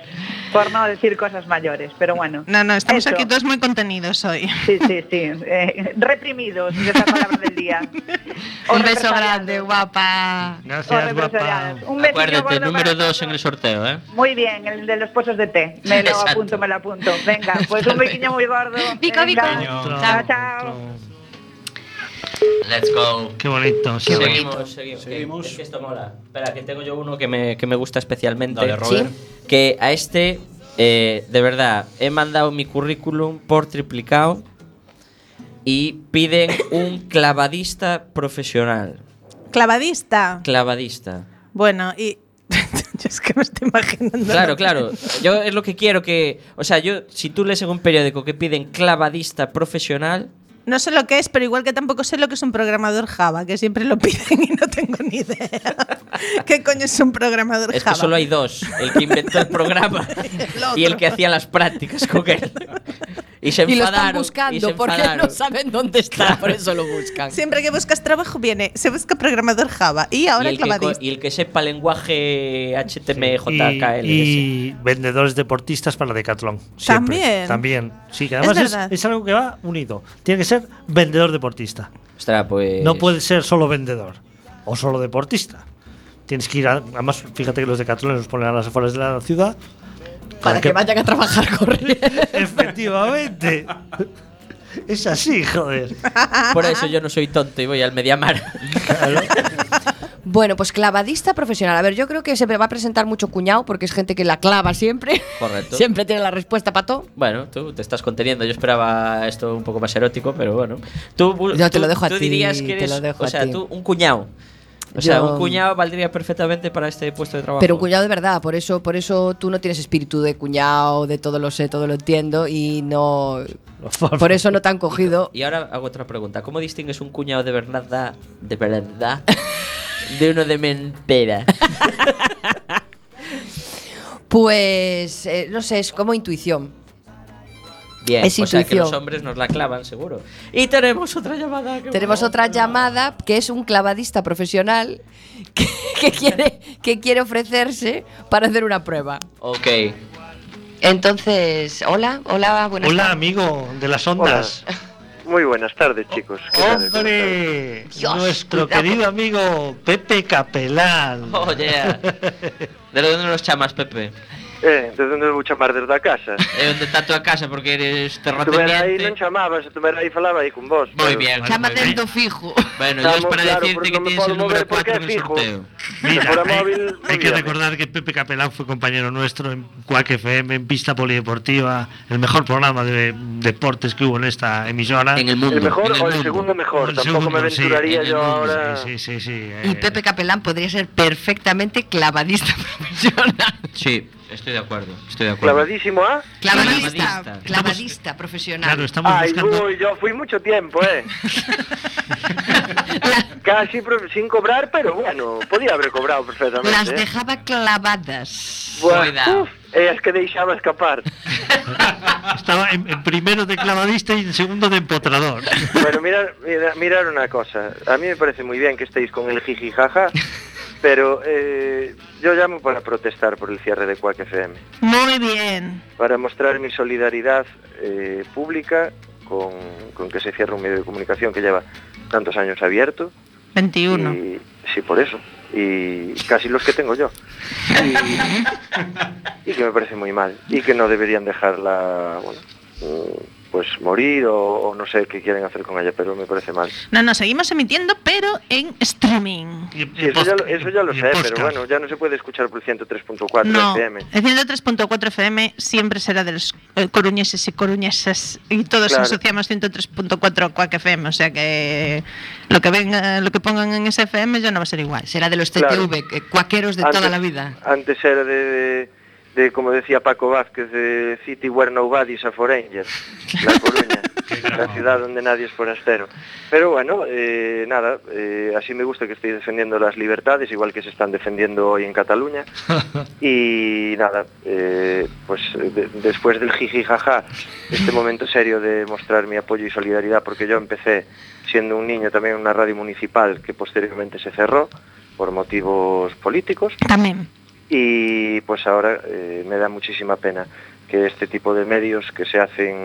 Q: por no decir cosas mayores, pero bueno.
S: No, no, estamos
Q: Eso.
S: aquí todos muy contenidos hoy.
Q: Sí, sí, sí. eh, reprimidos, esa es la palabra del día.
R: Un beso grande, guapa.
Q: Corre, groserías. Un beso
K: Acuérdate, número 2 en el sorteo, ¿eh?
Q: Muy bien, el de los pozos de té. Me lo
K: Exacto.
Q: apunto, me lo apunto. Venga, pues un pequeño muy gordo.
R: Bico, bico.
Q: Venga.
R: Chao.
Q: Chao, chao.
K: Let's go.
M: Qué bonito. sí.
K: seguimos, seguimos. Es que esto mola. Espera, que tengo yo uno que me, que me gusta especialmente.
T: Dale, Robert.
K: Que a este, eh, de verdad, he mandado mi currículum por triplicado y piden un clavadista profesional.
S: Clavadista.
K: Clavadista.
S: Bueno, y yo es que me estoy imaginando.
K: Claro, claro. Yo es lo que quiero que. O sea, yo, si tú lees en un periódico que piden clavadista profesional.
S: No sé lo que es, pero igual que tampoco sé lo que es un programador Java, que siempre lo piden y no tengo ni idea. ¿Qué coño es un programador
K: Es que
S: Java?
K: solo hay dos: el que inventó el programa y el que hacía las prácticas con él. Y se
S: Y lo están
K: enfadaron.
S: buscando
K: se
S: porque no
K: enfadaron.
S: saben dónde está, por eso
K: lo buscan.
S: Siempre que buscas trabajo viene, se busca programador Java y ahora
K: y, el que, co-
S: clavadista.
K: y el que sepa lenguaje HTML, JKL.
M: y vendedores deportistas para Decathlon. siempre.
S: También.
M: También. Sí, que además es,
S: verdad.
M: es algo que va unido. Tiene que ser vendedor deportista.
K: Ostras, pues.
M: No puede ser solo vendedor o solo deportista. Tienes que ir a, Además, fíjate que los Decathlon los ponen a las afueras de la ciudad.
R: Para que vayan a trabajar corriendo.
M: Efectivamente. es así, joder.
K: Por eso yo no soy tonto y voy al Mediamar.
L: Bueno, pues clavadista profesional. A ver, yo creo que se va a presentar mucho cuñado porque es gente que la clava siempre.
K: Correcto.
L: Siempre tiene la respuesta para todo.
K: Bueno, tú te estás conteniendo. Yo esperaba esto un poco más erótico, pero bueno. Tú, bu-
L: Yo te
K: tú-
L: lo dejo a
K: tú
L: ti,
K: dirías que
L: te
K: eres,
L: lo dejo
K: o
L: a
K: sea,
L: ti.
K: tú un cuñado. O sea,
L: Yo-
K: un cuñado valdría perfectamente para este puesto de trabajo.
L: Pero un cuñado de verdad, por eso, por eso tú no tienes espíritu de cuñado, de todo lo sé, todo lo entiendo y no. Por eso no te han cogido.
K: Y ahora hago otra pregunta. ¿Cómo distingues un cuñado de verdad, de verdad, de uno de mentira?
L: Pues eh, no sé, es como intuición.
K: Bien,
L: Es
K: o sea que los
L: intuición.
K: hombres nos la clavan, seguro. Y tenemos otra llamada. que-
L: Tenemos otra llamada que es un clavadista profesional que, que quiere, que quiere ofrecerse para hacer una prueba.
K: Ok.
L: Entonces, hola, hola, buenas
M: Hola, amigo de las ondas.
U: Muy buenas tardes, chicos. ¿Qué tal?
M: ¡Hombre! Nuestro querido amigo Pepe Capelán.
K: Oh, yeah. ¿De dónde nos chamas, Pepe?
U: Eh, desde onde vou chamar desde a casa?
K: É onde está a tua casa, porque eres
U: Estuvera aí, non
K: terrateniente.
U: chamabas, estuvera aí falaba aí con vos.
K: Moi bien.
U: Chama
K: moi ben.
R: Lo fijo.
K: Bueno, yo es para decirte que tienes el número 4 en el
U: fijo.
K: sorteo.
M: Mira,
U: Fuera
M: hay,
U: móvil,
M: hay que
U: olvídame.
M: recordar que Pepe Capelán fue compañero nuestro en Quack FM, en Pista Polideportiva, el mejor programa de deportes que hubo en esta emisora. En el
U: mundo. El mejor o el segundo mejor, tampoco me aventuraría yo ahora.
M: Sí, sí, sí. eh.
R: Y Pepe Capelán podría ser perfectamente clavadista profesional.
K: Sí, estoy de acuerdo. Estoy de acuerdo.
U: Clavadísimo, ¿ah?
R: Clavadista, clavadista profesional.
M: Claro, estamos
U: Ay,
M: buscando-
U: uy, yo fui mucho tiempo, ¿eh? Casi pro- sin cobrar, pero bueno, podía haber cobrado perfectamente.
R: Las
U: ¿eh?
R: dejaba clavadas.
U: Buah, uf, eh, es que deixaba escapar.
M: Estaba en, en primero de clavadista y en segundo de empotrador.
U: Bueno, mirar, mira, mirar una cosa. A mí me parece muy bien que estéis con el jiji jaja, pero eh, yo llamo para protestar por el cierre de Quack FM,
S: Muy bien.
U: para mostrar mi solidaridad eh, pública con, con que se cierre un medio de comunicación que lleva tantos años abierto.
S: 21.
U: Y, sí, por eso. Y casi los que tengo yo. Y, y que me parece muy mal. Y que no deberían dejarla, bueno, eh, pues morir o, o no sé qué quieren hacer con ella, pero me parece mal.
S: No, no, seguimos emitiendo, pero en streaming.
U: Sí, eso, ya, lo- eso ya lo sé, pero bueno, ya no se puede escuchar por el 103.4
S: No,
U: FM.
S: el 103.4 FM siempre será de los eh, coruñeses y coruñesas y todos
U: Claro.
S: asociamos 103.4 a Quack FM, o sea que lo que venga, lo que pongan en ese FM ya no va a ser igual. Será de los
U: Claro.
V: eh, cuaqueros de toda
U: Antes-
V: la vida.
U: Antes era de, de- de, como decía Paco Vázquez, de City Where Nobody's a Foreigner, La Coruña, la ciudad donde nadie es forastero. Pero bueno, eh, nada, eh, así me gusta que estoy defendiendo las libertades, igual que se están defendiendo hoy en Cataluña. Y nada, eh, pues de- después del jiji jaja, este momento serio de mostrar mi apoyo y solidaridad, porque yo empecé siendo un niño también en una radio municipal que posteriormente se cerró por motivos políticos.
S: También.
U: Y pues ahora eh, me da muchísima pena que este tipo de medios que se hacen,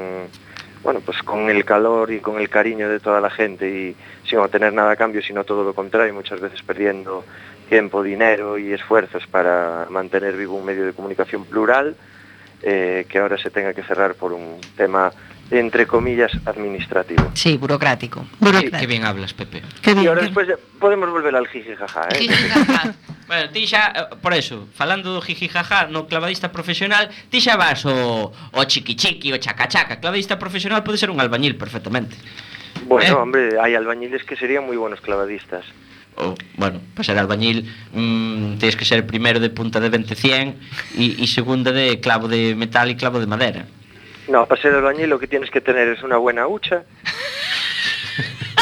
U: bueno, pues con el calor y con el cariño de toda la gente y sin obtener nada a cambio, sino todo lo contrario, muchas veces perdiendo tiempo, dinero y esfuerzos para mantener vivo un medio de comunicación plural, eh, que ahora se tenga que cerrar por un tema, entre comillas, administrativo.
V: Sí, burocrático.
K: Qué bien hablas, Pepe.
U: Y ahora despois Pues, ya podemos volver al jiji jaja, eh?
K: Bueno, ti xa, eh, por eso, falando do jiji jaja no clavadista profesional, ti xa vas o, o chiqui chiqui, o chaca chaca. Clavadista profesional pode ser un albañil perfectamente.
U: Bueno, hombre, hay albañiles que serían muy buenos clavadistas.
K: O, bueno, para ser albañil mm, tens que ser primeiro de punta de 20-100 e, e segunda de clavo de metal e clavo de madera.
U: No, para ser albañil lo que tienes que tener es una buena hucha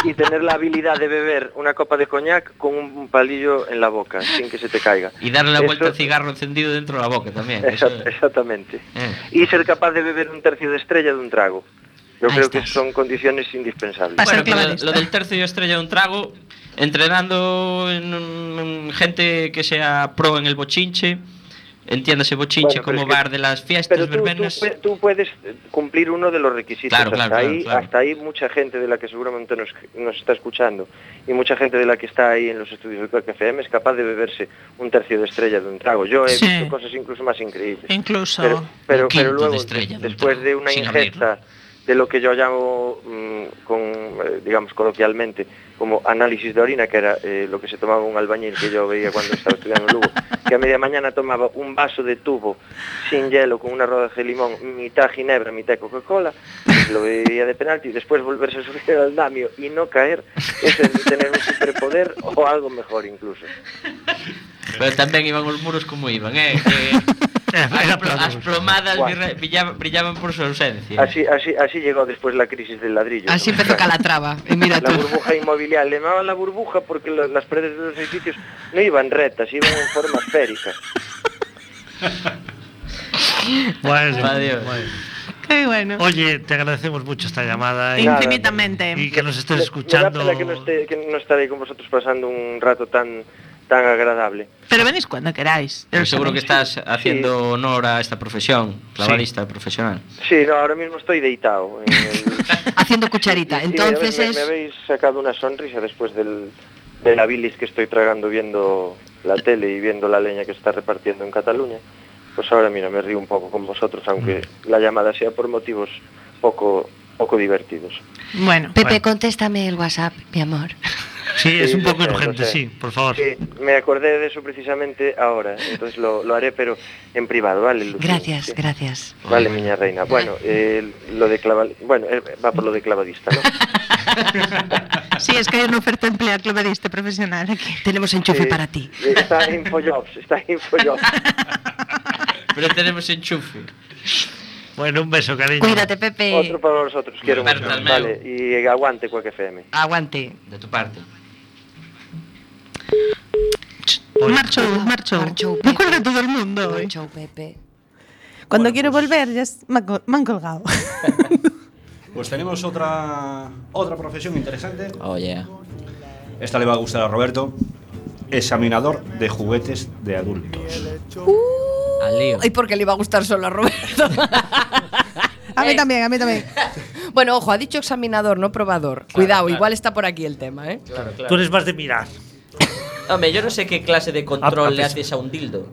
U: y tener la habilidad de beber una copa de coñac con un palillo en la boca, sin que se te caiga.
K: E darle a
U: Eso-
K: vuelta ao cigarro encendido dentro da boca tamén. Eso,
U: Exact- exactamente.
K: eh.
U: Y ser capaz de beber un tercio de estrella de un trago. Yo creo que son condiciones indispensables.
K: Bueno, pero lo, del tercio y estrella de un trago, entrenando en, un- en gente que sea pro en el bochinche, entiéndase bochinche
U: Bueno, pero
K: como
U: es que-
K: bar de las fiestas
U: Pero tú, tú
K: verbenas.
U: pu- tú puedes eh, cumplir uno de los requisitos.
K: Claro,
U: hasta,
K: claro,
U: ahí,
K: claro, claro.
U: hasta ahí mucha gente de la que seguramente nos, nos está escuchando y mucha gente de la que está ahí en los estudios del Crack FM es capaz de beberse un tercio de estrella de un trago. Yo he
S: Sí.
U: visto cosas incluso más increíbles.
S: Incluso
U: Pero, pero,
S: un quinto
U: pero luego,
S: de estrella de un
U: después
K: trago,
U: de una
K: sin
U: ingesta de lo que yo llamo, mm, con, eh, digamos coloquialmente, como análisis de orina, que era eh, lo que se tomaba un albañil que yo veía cuando estaba estudiando en Lugo, que a media mañana tomaba un vaso de tubo sin hielo, con una rodaja de limón, mitad ginebra, mitad Coca-Cola, pues lo veía de penalti, y después volverse a subir al andamio y no caer, eso es tener un superpoder o algo mejor incluso.
K: Pero tamén iban os muros como iban, eh? Que as, pro- as plomadas birra- brilla- brillaban por su ausencia.
U: Así, así, así llegó después la crisis del ladrillo.
V: Así empezó Calatrava. Y mira
U: la
V: tú.
U: burbuja inmobiliaria. Le llamaban la burbuja porque lo- las paredes de los edificios no iban rectas, iban en forma esférica.
M: Bueno,
K: Adiós.
M: bueno.
S: Qué bueno.
M: Oye, te agradecemos mucho esta llamada. y-
S: Infinitamente.
M: Y que nos estés
U: Me-
M: escuchando.
U: Me da pena que no, esté, que no estaré con vosotros pasando un rato tan, tan agradable.
S: Pero venís cuando queráis.
K: Pero seguro que estás haciendo honor a esta profesión, clavadista profesional.
U: Sí, no, ahora mismo estoy deitado. en el-
V: Haciendo cucharita.
U: Sí, a ver,
V: Entonces
U: me,
V: es.
U: me habéis sacado una sonrisa después del, de la bilis que estoy tragando viendo la tele y viendo la leña que está repartiendo en Cataluña. Pues ahora mira, me río un poco con vosotros, aunque
V: Mm.
U: la llamada sea por motivos poco poco divertidos.
S: Bueno.
V: Pepe,
U: Bueno.
V: contéstame el WhatsApp, mi amor.
M: Sí, es un
U: lo
M: poco
U: sé, lo
M: urgente,
U: sé.
M: sí, por favor.
U: Sí, me acordé de eso precisamente ahora, entonces lo, lo haré pero en privado, ¿vale? Lucía?
V: Gracias,
U: Sí.
V: gracias.
U: Vale, miña reina. Bueno, eh, lo de claval... bueno, eh, va por lo de clavadista, ¿no?
S: Sí, es que hay una oferta de empleo clavadista profesional aquí.
V: Tenemos
U: enchufe para ti. Está en Infojobs, está en Infojobs.
K: Pero tenemos enchufe.
M: Bueno, un beso, cariño.
V: Cuídate, Pepe.
U: Otro para vosotros, quiero mucho.
K: Berta, el meu.
U: Vale, y aguante Quack FM.
V: Aguante.
K: De tu parte.
S: Marcho, marcho. Recuerda a todo el mundo. Marcho, pues-
L: Pepe.
W: Cuando quiero volver, ya es- me han col- me han colgado.
O: Pues tenemos otra, Ah, otra profesión interesante.
K: Oh, yeah.
O: Esta le va a gustar a Roberto. Examinador de juguetes de adultos.
K: Uh. Al lío.
L: Ay, porque le iba a gustar solo a Roberto.
W: A mí también, a mí también.
L: bueno, ojo, ha dicho examinador, no probador. Cuidado,
M: claro.
L: igual está por aquí el tema, ¿eh?
M: Tú eres más de mirar.
K: Home, yo no sé qué clase de
L: A- a
K: control le
L: pesar-
K: haces a un dildo.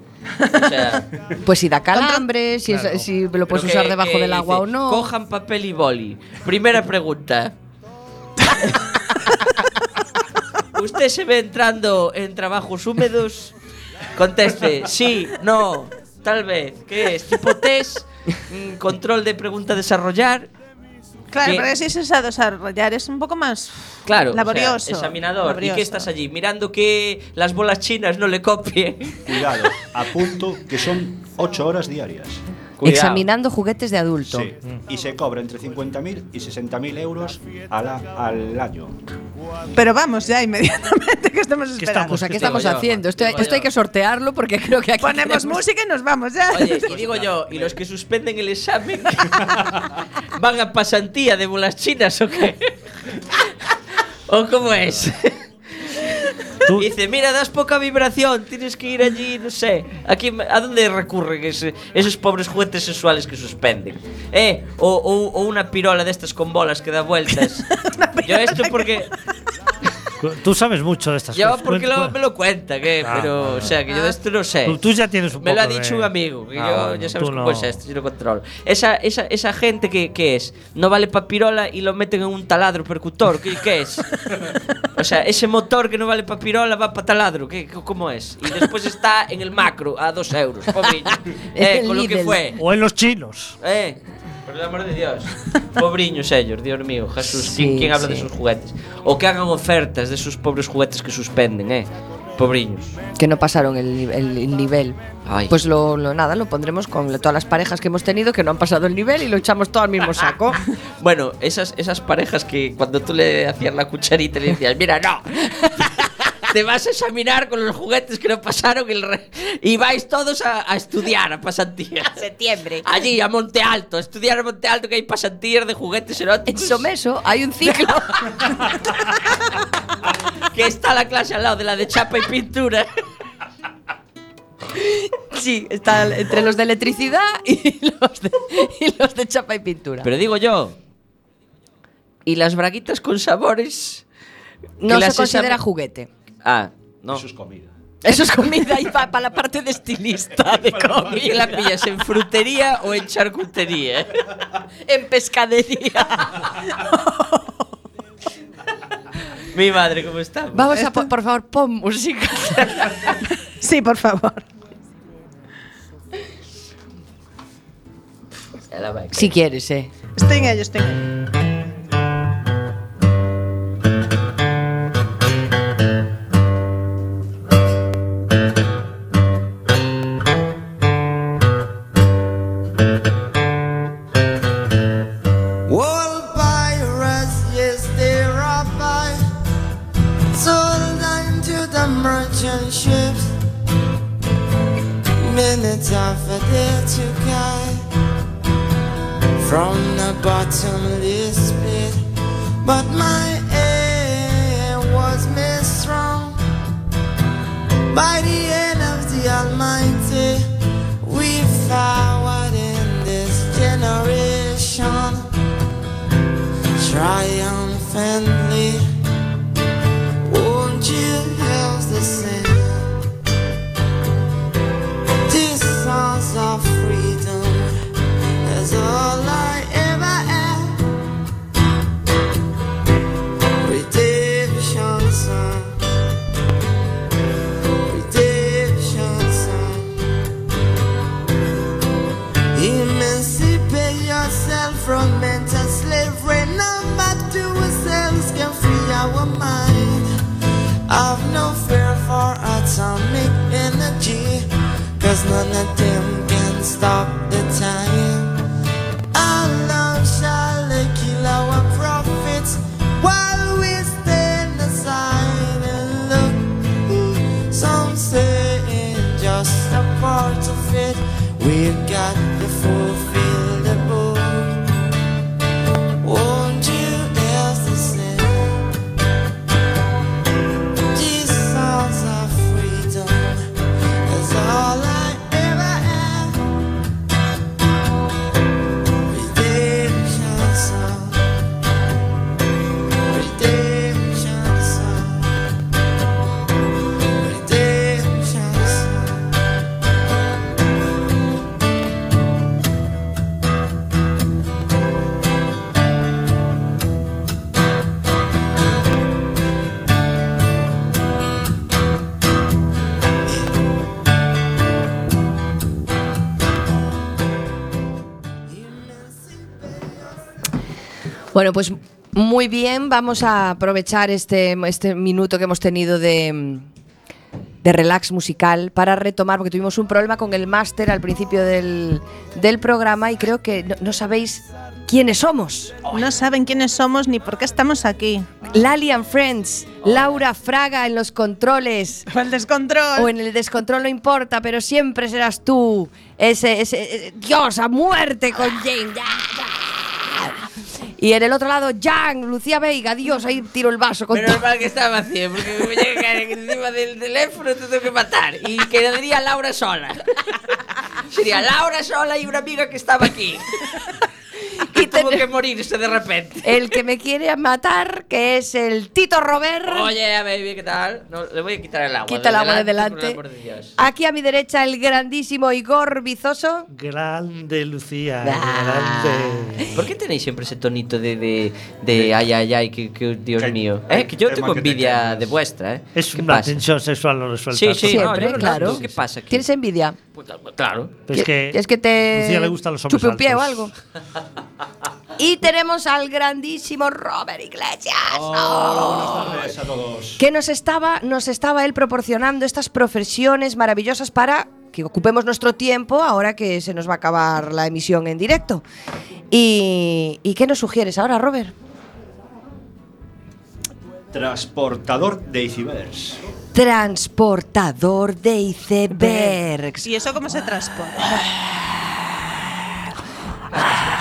K: O sea,
L: Pues si da calambre, si, es-
K: Claro.
L: si lo puedes
K: Pero que-
L: usar debajo
K: que
L: del agua o
K: dice,
L: no.
K: Cojan papel y boli. Primera pregunta. ¿Usted se ve entrando en trabajos húmedos? Conteste, sí, no, tal vez. ¿Qué es? ¿Tipo test? Mm, ¿Control de pregunta a desarrollar?
S: Claro,
K: ¿Qué?
S: pero si es a desarrollar es un poco más
K: Claro, o sea,
S: laborioso.
K: examinador. ¿Y
S: laborioso.
K: qué estás allí? Mirando que las bolas chinas no le copien.
O: Cuidado, apunto que son 8 horas diarias.
L: Examinando juguetes de adulto.
O: Sí, y se cobra entre 50.000 y 60.000 euros a la- al año.
S: Pero vamos ya inmediatamente que estamos esperando.
L: Pues aquí estamos haciendo. Esto,
K: digo
L: esto hay que sortearlo porque creo que aquí
S: Ponemos
L: tenemos-
S: música y nos vamos ya.
K: Oye, y digo yo, ¿y los que suspenden el examen van a pasantía de bolas chinas o qué? ¿O cómo es? Dice, mira, das poca vibración, tienes que ir allí, no sé. ¿A, quién- a dónde recurren ese- esos pobres juguetes sexuales que suspenden? ¿Eh? O, o- o una pirola de estas con bolas que da vueltas. yo esto porque,
B: Cu- Tú sabes mucho de estas
K: yo
B: cosas.
K: porque lo-
B: Cuen-
K: me lo cuentan, ¿eh?
B: Ah,
K: pero,
B: vale.
K: o sea, que yo de esto no sé.
B: Tú, tú ya tienes un
K: Me lo
B: poco
K: ha dicho
B: de-
K: un amigo, que
B: Ah,
K: yo
B: bueno,
K: ya sabes
B: tú
K: cómo
B: no.
K: es esto, yo no controlo. Esa, esa, esa gente que, que es, no vale para pirola y lo meten en un taladro percutor, ¿qué, qué es? O sea, ese motor que no vale para pirola va para taladro, ¿qué, qué- ¿cómo es? Y después está en el macro, a dos euros, pobrillo. Eh,
B: El
K: con lo que
B: Lidl.
K: fue.
B: O en los chinos.
K: Eh, por el amor de Dios. Pobriños ellos, Dios mío, Jesús, ¿quién,
B: Sí,
K: quién habla de
B: sí.
K: sus juguetes? O que hagan ofertas de esos pobres juguetes que suspenden, eh. Pobriños.
L: que no pasaron el, ni- el nivel.
K: Ay.
L: Pues lo, lo- nada, lo pondremos con la- todas las parejas que hemos tenido que no han pasado el nivel y lo echamos todo al mismo saco.
K: Bueno, esas, esas parejas que cuando tú le hacías la cucharita le decías, mira, no. Te vas a examinar con los juguetes que no pasaron el re- y vais todos a, a estudiar a pasantías.
Q: Septiembre.
K: Allí, a Monte Alto, a estudiar a Monte Alto que hay pasantías de juguetes eróticos. En Someso hay un ciclo. que está la clase al lado de la de chapa y pintura.
L: sí, está entre los de electricidad y los de, y los de chapa y pintura.
K: Pero digo yo, ¿y las braguitas con sabores?
L: no
K: que
L: se
K: las
L: considera
K: examen-
L: juguete.
K: Ah, no.
O: Eso es comida.
L: Eso es comida y para la parte de estilista de
K: ¿Y qué la pillas en frutería o en
E: ¿eh?
K: charcutería?
L: en pescadería.
K: Mi madre, ¿cómo está?
L: Vamos a po- por favor, pon música.
S: sí, por favor.
L: Si quieres, eh.
S: Estoy en ello, estoy en ello.
T: All pirates, yes, they are by. Sold unto the merchant ships. Minutes of a day to guy. From the bottomless pit. But my aim was made strong. By the end of the Almighty, we forward in this generation triumphantly. Won't you help the sing These songs of freedom is all I ever had. Redemption song. Redemption song. Emancipate yourself from mental slavery. None but to ourselves can free our mind. I've no fear for atomic energy, cause none of them can stop the time. Alone shall they kill our prophets while we stand aside and look. Some say just a part of it. We've got to fulfill the book. Won't you dance the same? These songs of freedom is all I ever had. Redemption song. Redemption song.
L: Bueno, pues muy bien, vamos a aprovechar este, este minuto que hemos tenido de, de relax musical para retomar, porque tuvimos un problema con el máster al principio del, del programa y creo que no, no sabéis quiénes somos.
S: No saben quiénes somos ni por qué estamos aquí.
L: Lali and Friends, Laura Fraga en los controles.
S: O el descontrol.
L: O en el descontrol no importa, pero siempre serás tú. Ese, ese, eh, Dios, a muerte con Jane. Y en el otro lado, Jan, Lucía Veiga, Dios, ahí tiro el vaso con
E: Menos
L: todo.
E: mal que está vacío, porque me voy a caer encima del teléfono, te tengo que matar. Y quedaría Laura sola. Sería Laura sola y una amiga que estaba aquí. Y tuvo que morirse de repente.
L: El que me quiere matar, que es el Tito Robert.
E: Oye, a baby, ¿qué tal? No, le voy a quitar el agua.
L: Quita
E: de
L: el agua de
E: delante,
L: delante.
E: por el amor de Dios.
L: Aquí a mi derecha, el grandísimo Igor Bizoso.
B: Grande, Lucía. Grande.
K: ¿Por qué tenéis siempre ese tonito de, de, de ay, ay, ay, que, que- Dios mío? Eh, que yo
B: tema
K: tengo
B: que
K: envidia de vuestra, ¿eh?
B: Es
K: ¿Qué
B: una
K: pasa?
B: tensión sexual no resuelta.
K: Sí, sí, no,
L: Siempre,
K: yo lo
L: claro.
K: noto. ¿Qué pasa aquí?
L: ¿Tienes envidia?
K: Claro.
B: Es que
L: ¿Quieres que te
B: Eh, Lucía le gustan los hombres
L: chupe un pie o
B: altos.
L: algo? Y tenemos al grandísimo Robert Iglesias.
K: Oh.
O: Hola, buenas tardes a todos.
L: que nos estaba, nos estaba él proporcionando estas profesiones maravillosas para que ocupemos nuestro tiempo ahora que se nos va a acabar la emisión en directo. ¿Y, y qué nos sugieres ahora, Robert?
O: Transportador de icebergs.
L: Transportador de icebergs.
S: ¿Y eso cómo se transporta?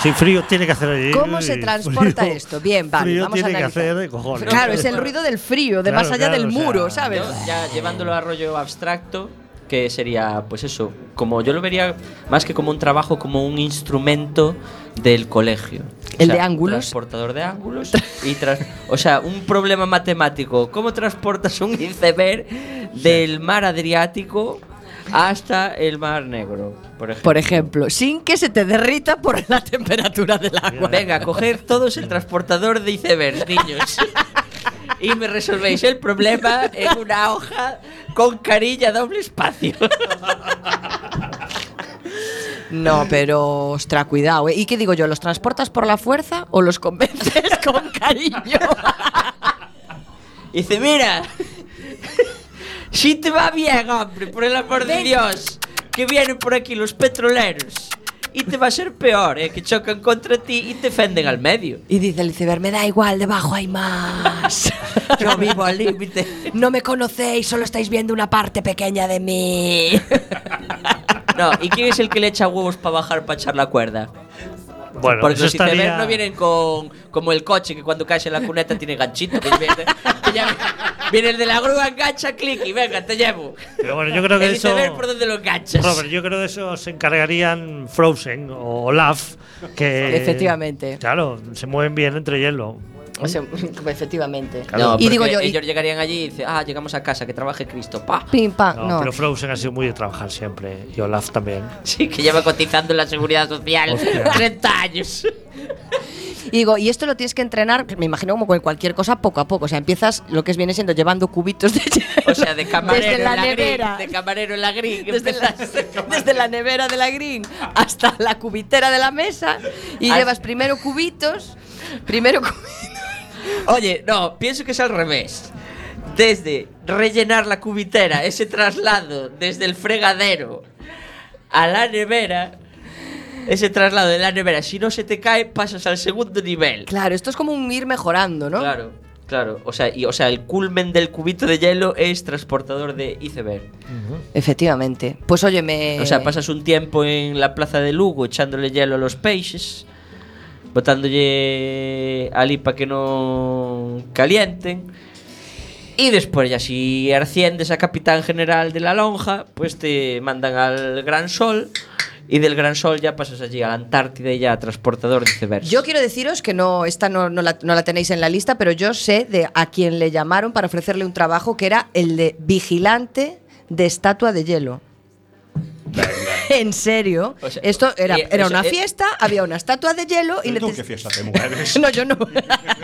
B: Sin frío tiene que hacer.
L: ¿Cómo se
B: Uy,
L: transporta
B: frío.
L: esto? Bien, vale,
B: frío
L: vamos a
B: tiene que
L: analizar.
B: hacer de cojones.
L: Claro, es el ruido del frío, de
B: Claro,
L: más allá
B: claro,
L: del
B: o sea,
L: muro, ¿sabes?
K: Yo, ya llevándolo a rollo abstracto, que sería, pues eso, como yo lo vería más que como un trabajo, como un instrumento del colegio.
L: ¿El de ángulos?
K: Transportador de ángulos. y tras- o sea, un problema matemático. ¿Cómo transportas un iceberg del mar Adriático hasta el mar Negro? Por ejemplo.
L: Por ejemplo, sin que se te derrita por la temperatura del agua.
K: Venga, coger todos el transportador de icebergs, niños. Y me resolvéis el problema en una hoja con carilla doble espacio.
L: No, pero ostra, cuidado. ¿eh? ¿Y qué digo yo? ¿Los transportas por la fuerza o los convences con cariño?
E: Y dice, mira, si te va bien, hombre, por el amor de Dios, que vienen por aquí los petroleros. Y te va a ser peor, eh, que chocan contra ti y te fenden al medio.
L: Y dice el iceberg, me da igual, debajo hay más.
E: Yo vivo al límite.
L: No me conocéis, solo estáis viendo una parte pequeña de mí.
K: No, ¿y quién es el que le echa huevos para bajar para echar la cuerda?
B: Bueno,
K: Porque
B: eso
K: los icebergs
B: estaría-
K: no vienen con como el coche que cuando cae en la cuneta tiene ganchito. que viene, que ya- viene el de la grúa, engancha, clic y venga, te llevo.
B: Pero bueno, yo creo que
K: el
B: eso.
K: iceberg por donde lo enganchas.
B: Robert, yo creo que eso se encargarían Frozen o Olaf. Que,
L: Efectivamente.
B: Claro, se mueven bien entre hielo.
L: O sea, efectivamente.
B: Claro.
L: y digo yo, y-
K: ellos llegarían allí y dicen, ah, llegamos a casa, que trabaje Cristo, pa.
L: pim, pam,
B: No,
L: Ah, no.
B: pero Frozen ha sido muy de trabajar siempre. Y Olaf también.
K: Sí, que lleva cotizando en la seguridad social
B: Hostia.
K: 30 años.
L: Y digo, y esto lo tienes que entrenar, me imagino como con cualquier cosa, poco a poco. O sea, empiezas lo que viene siendo llevando cubitos de
K: O sea, de camarero
L: Desde
K: en
L: la
K: la, green,
L: nevera.
K: de camarero en la green.
L: desde la, desde la nevera de la green hasta la cubitera de la mesa y
K: Hasta-
L: llevas primero cubitos, primero cu-
K: Oye, no, pienso que es al revés. Desde rellenar la cubitera, ese traslado desde el fregadero a la nevera, ese traslado de la nevera, si no se te cae, pasas al segundo nivel.
L: Claro, esto es como un ir mejorando, ¿no?
K: Claro, claro. O sea, y, o sea, el culmen del cubito de hielo es transportador de iceberg.
L: Efectivamente. Pues óyeme,
K: O sea, pasas un tiempo en la plaza de Lugo echándole hielo a los peixes, botándolle ali para que non calienten. E despois, ya si asciendes a capitán general de la lonja, pues te mandan al Gran Sol e del Gran Sol ya pasas allí a la Antártida e ya a transportador de icebergs.
L: yo quiero deciros que no esta no, no la, no la tenéis en la lista, pero yo sé de a quien le llamaron para ofrecerle un trabajo que era el de vigilante de estatua de hielo. en serio. Esto era,
K: eh,
L: era
K: eso,
L: una
K: eh.
L: fiesta, había una estatua de hielo y
O: ¿Y tú
L: neces-
O: qué fiesta te mueves?
L: No, yo no.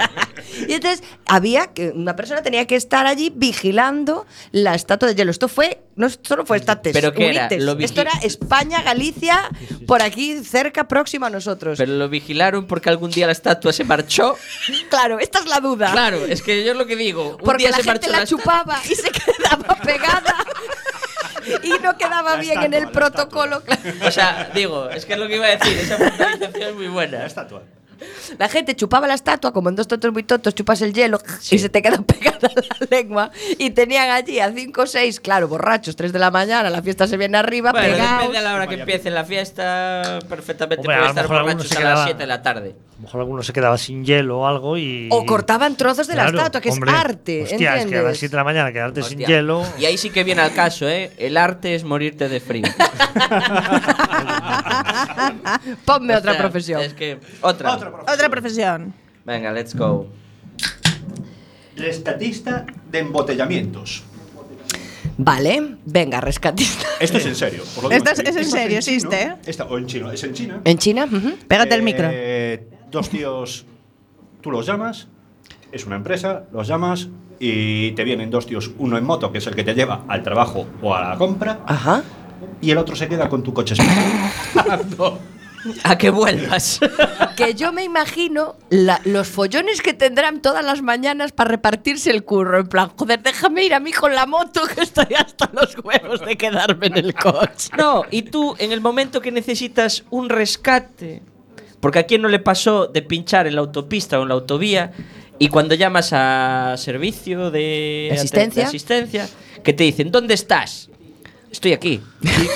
L: y entonces había que una persona tenía que estar allí vigilando la estatua de hielo. Esto fue, no solo fue estates,
K: ¿Pero qué era?
L: unites.
K: Lo vigi-
L: Esto era España, Galicia, por aquí cerca, próxima a nosotros.
K: Pero lo vigilaron porque algún día la estatua se marchó.
L: Claro, esta es la duda.
K: Claro, es que yo es lo que digo. Un
L: porque
K: día
L: la
K: se
L: gente
K: marchó
L: la
K: la estatua.
L: chupaba y se quedaba pegada. y no quedaba bien en el protocolo.
K: O sea, digo, es que es lo que iba a decir. Esa puntualización es muy buena. La
O: estatua.
L: La gente chupaba la estatua, como en dos tontos muy tontos chupas el hielo y se te queda pegada la lengua. Y tenían allí a cinco o seis, claro, borrachos, tres de la mañana, la fiesta se viene arriba,
K: Bueno,
L: pegados.
K: depende de la hora que empiece la fiesta, perfectamente
B: Hombre, a
K: puede
B: lo
K: estar
B: mejor alguno
K: borrachos
B: se
K: a las
B: quedaba-
K: 7 de la tarde.
B: A lo mejor alguno se quedaba sin hielo o algo y.
L: O cortaban trozos de la
B: Claro,
L: estatua, que
B: hombre.
L: es arte,
B: Hostia, es que a las
L: ¿entiendes?
B: 7 de la mañana quedarte sin
K: Hostia.
B: hielo.
K: Y ahí sí que viene al caso, ¿eh? El arte es morirte de frío.
L: Ponme otra
K: O sea,
L: profesión.
K: Es que otra.
S: Otra profesión.
K: Venga, let's go.
O: Rescatista de embotellamientos.
L: Vale, venga, rescatista.
O: Esto es en serio. os lo digo
S: Esto es- es en
O: Esto chino,
S: serio, existe, ¿eh?
O: Esta, o en chino, es en China.
L: ¿En China? Ujú.
O: Eh, Dos tíos, tú los llamas, es una empresa, los llamas y te vienen dos tíos, uno en moto, que es el que te lleva al trabajo o a la compra,
L: Ajá.
O: y el otro se queda con tu coche esperando.
K: A que vuelvas.
L: Que yo me imagino la- los follones que tendrán todas las mañanas para repartirse el curro. En plan, joder, déjame ir a mí con la moto que estoy hasta los huevos de quedarme en el coche.
K: No, y tú, en el momento que necesitas un rescate, porque a quién no le pasó de pinchar en la autopista o en la autovía, y cuando llamas a servicio de
L: ¿De asistencia?
K: de asistencia, que te dicen, ¿dónde estás? Estoy aquí.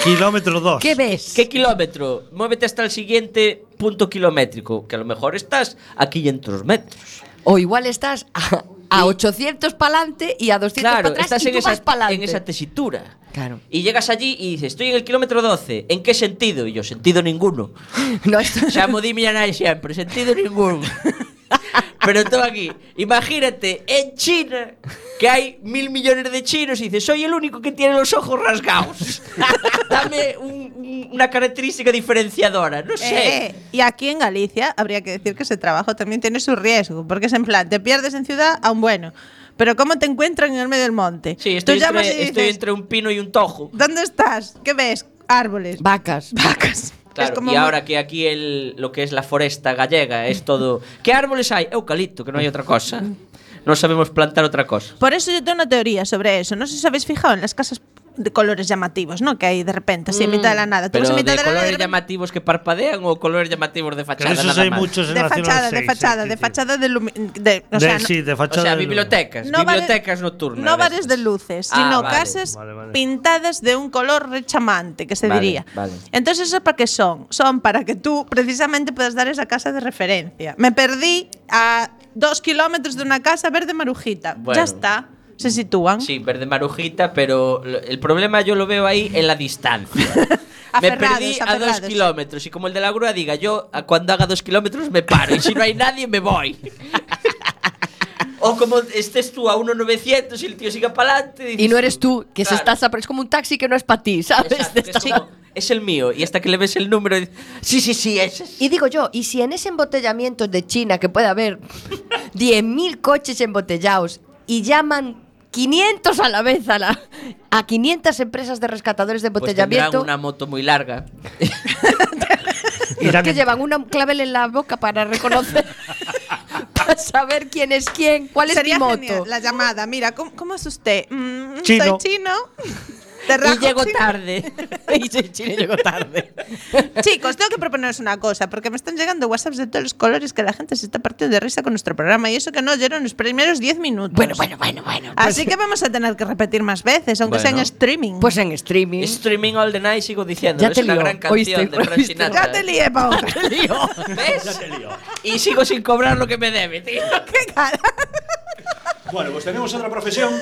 B: Kilómetro 2.
L: ¿Qué ves?
K: ¿Qué kilómetro? Muévete hasta el siguiente punto kilométrico, que a lo mejor estás a 500 metros.
L: O igual estás a, a 800 para adelante y a 200
K: Claro,
L: para atrás
K: estás
L: y
K: en
L: tú vas
K: esa,
L: para
K: en
L: adelante.
K: esa tesitura.
L: Claro.
K: Y llegas allí y dices, estoy en el kilómetro 12. ¿En qué sentido? Y yo, sentido ninguno.
L: No, esto-
K: Chamo di miñanai siempre, sentido ninguno. Pero todo aquí, imagínate en China que hay mil millones de chinos y dices, soy el único que tiene los ojos rasgados. Dame un- un- una característica diferenciadora, no sé.
S: Eh, y aquí en Galicia habría que decir que ese trabajo también tiene su riesgo, porque es en plan, te pierdes en ciudad a un bueno, pero ¿cómo te encuentran en el medio del monte?
K: Sí, estoy,
S: Tú llamas
K: entre,
S: y
K: estoy
S: dices,
K: entre un pino y un tojo.
S: ¿dónde estás? ¿Qué ves? Árboles.
L: Vacas.
S: Vacas.
K: Claro,
S: es como
K: y
S: muy-
K: ahora que aquí el, lo que es la foresta gallega es todo... ¿Qué árboles hay? Eucalipto, que no hay otra cosa. No sabemos plantar otra cosa.
S: Por eso yo tengo una teoría sobre eso. No sé si os habéis fijado en las casas de colores llamativos, ¿no? Que hay de repente, así en mitad de la nada. Tú vas
K: Mm, Pero
S: en
K: de
S: mitad la nada y
K: colores
S: de repente-
K: llamativos que parpadean o colores llamativos de fachada.
B: esos
K: nada
B: hay
K: más?
B: muchos en
S: de
B: la
S: fachada, de fachada, de fachada de, lumi- de- o
B: De-
S: sea, no-
B: sí, de fachada
K: O sea,
B: de luz.
K: bibliotecas,
S: No vale-
K: bibliotecas nocturnas.
S: No
K: de
S: bares de luces,
K: Ah,
S: sino
K: vale,
S: casas
K: vale, vale.
S: pintadas de un color rechamante, que se
K: Vale,
S: diría.
K: vale.
S: Entonces, ¿eso para qué son? Son para que tú precisamente puedas dar esa casa de referencia. Me perdí a dos kilómetros de una casa verde marujita.
K: Bueno.
S: Ya está. Se sitúan.
K: Sí, verde marujita, pero lo- el problema yo lo veo ahí en la distancia. me
S: Aferrados,
K: perdí a
S: aferrados.
K: dos kilómetros y como el de la grúa diga, yo a cuando haga dos kilómetros me paro y si no hay nadie me voy. o como estés tú a 1.900 y el tío siga para adelante.
L: Y no eres tú, que se
K: Claro.
L: estás a- es como un taxi que no es para ti, ¿sabes?
K: Es, como, "Es el mío y hasta que le ves el número dices, sí, sí, sí, ese es.
L: Y digo yo, y si en ese embotellamiento de China, que puede haber 10.000 coches embotellados y llaman 500 a la vez a, la, a 500 empresas de rescatadores de
K: Pues tendrán
L: embotellamiento,
K: una moto muy larga.
L: es que llevan una clavel en la boca para reconocer, para saber quién es quién, cuál es mi
S: Sería
L: moto.
S: genial la llamada. Mira, ¿cómo, cómo es usted? Mm,
L: Chino.
S: Soy chino. Te rajo
L: llego
S: chino.
K: tarde.
L: y soy chino y llego tarde.
S: Chicos, tengo que proponeros una cosa, porque me están llegando WhatsApps de todos los colores que la gente se está partiendo de risa con nuestro programa y eso que no oyeron los primeros 10 minutos. Bueno, bueno,
L: bueno, bueno.
S: Así que vamos a tener que repetir más veces, aunque sea en
K: Bueno.
S: streaming.
L: Pues en streaming.
K: Streaming all the night, sigo diciendo.
L: Ya
K: es
L: te
K: una
L: lío,
K: gran canción
L: oíste,
K: de Frank
L: oíste.
K: Sinatra.
S: Ya te lié, Pau.
K: ¿Ves? Y sigo sin cobrar lo que me debe, tío.
O: Bueno, pues tenemos otra profesión.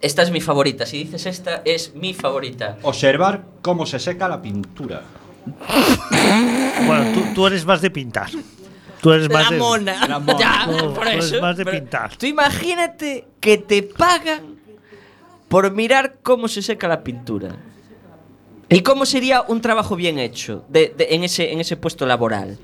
K: Esta es mi favorita. Si dices esta, es mi favorita.
O: Observar cómo se seca la pintura.
B: Bueno, tú, tú eres más de pintar. Tú eres más
K: La
B: de.
K: mona.
B: La mona.
K: Ya,
B: Tú-
K: por
B: tú
K: eso.
B: eres más de
K: Pero
B: pintar.
K: Tú imagínate que te pagan por mirar cómo se seca la pintura. ¿Y cómo sería un trabajo bien hecho de- de- en, ese, en ese puesto laboral?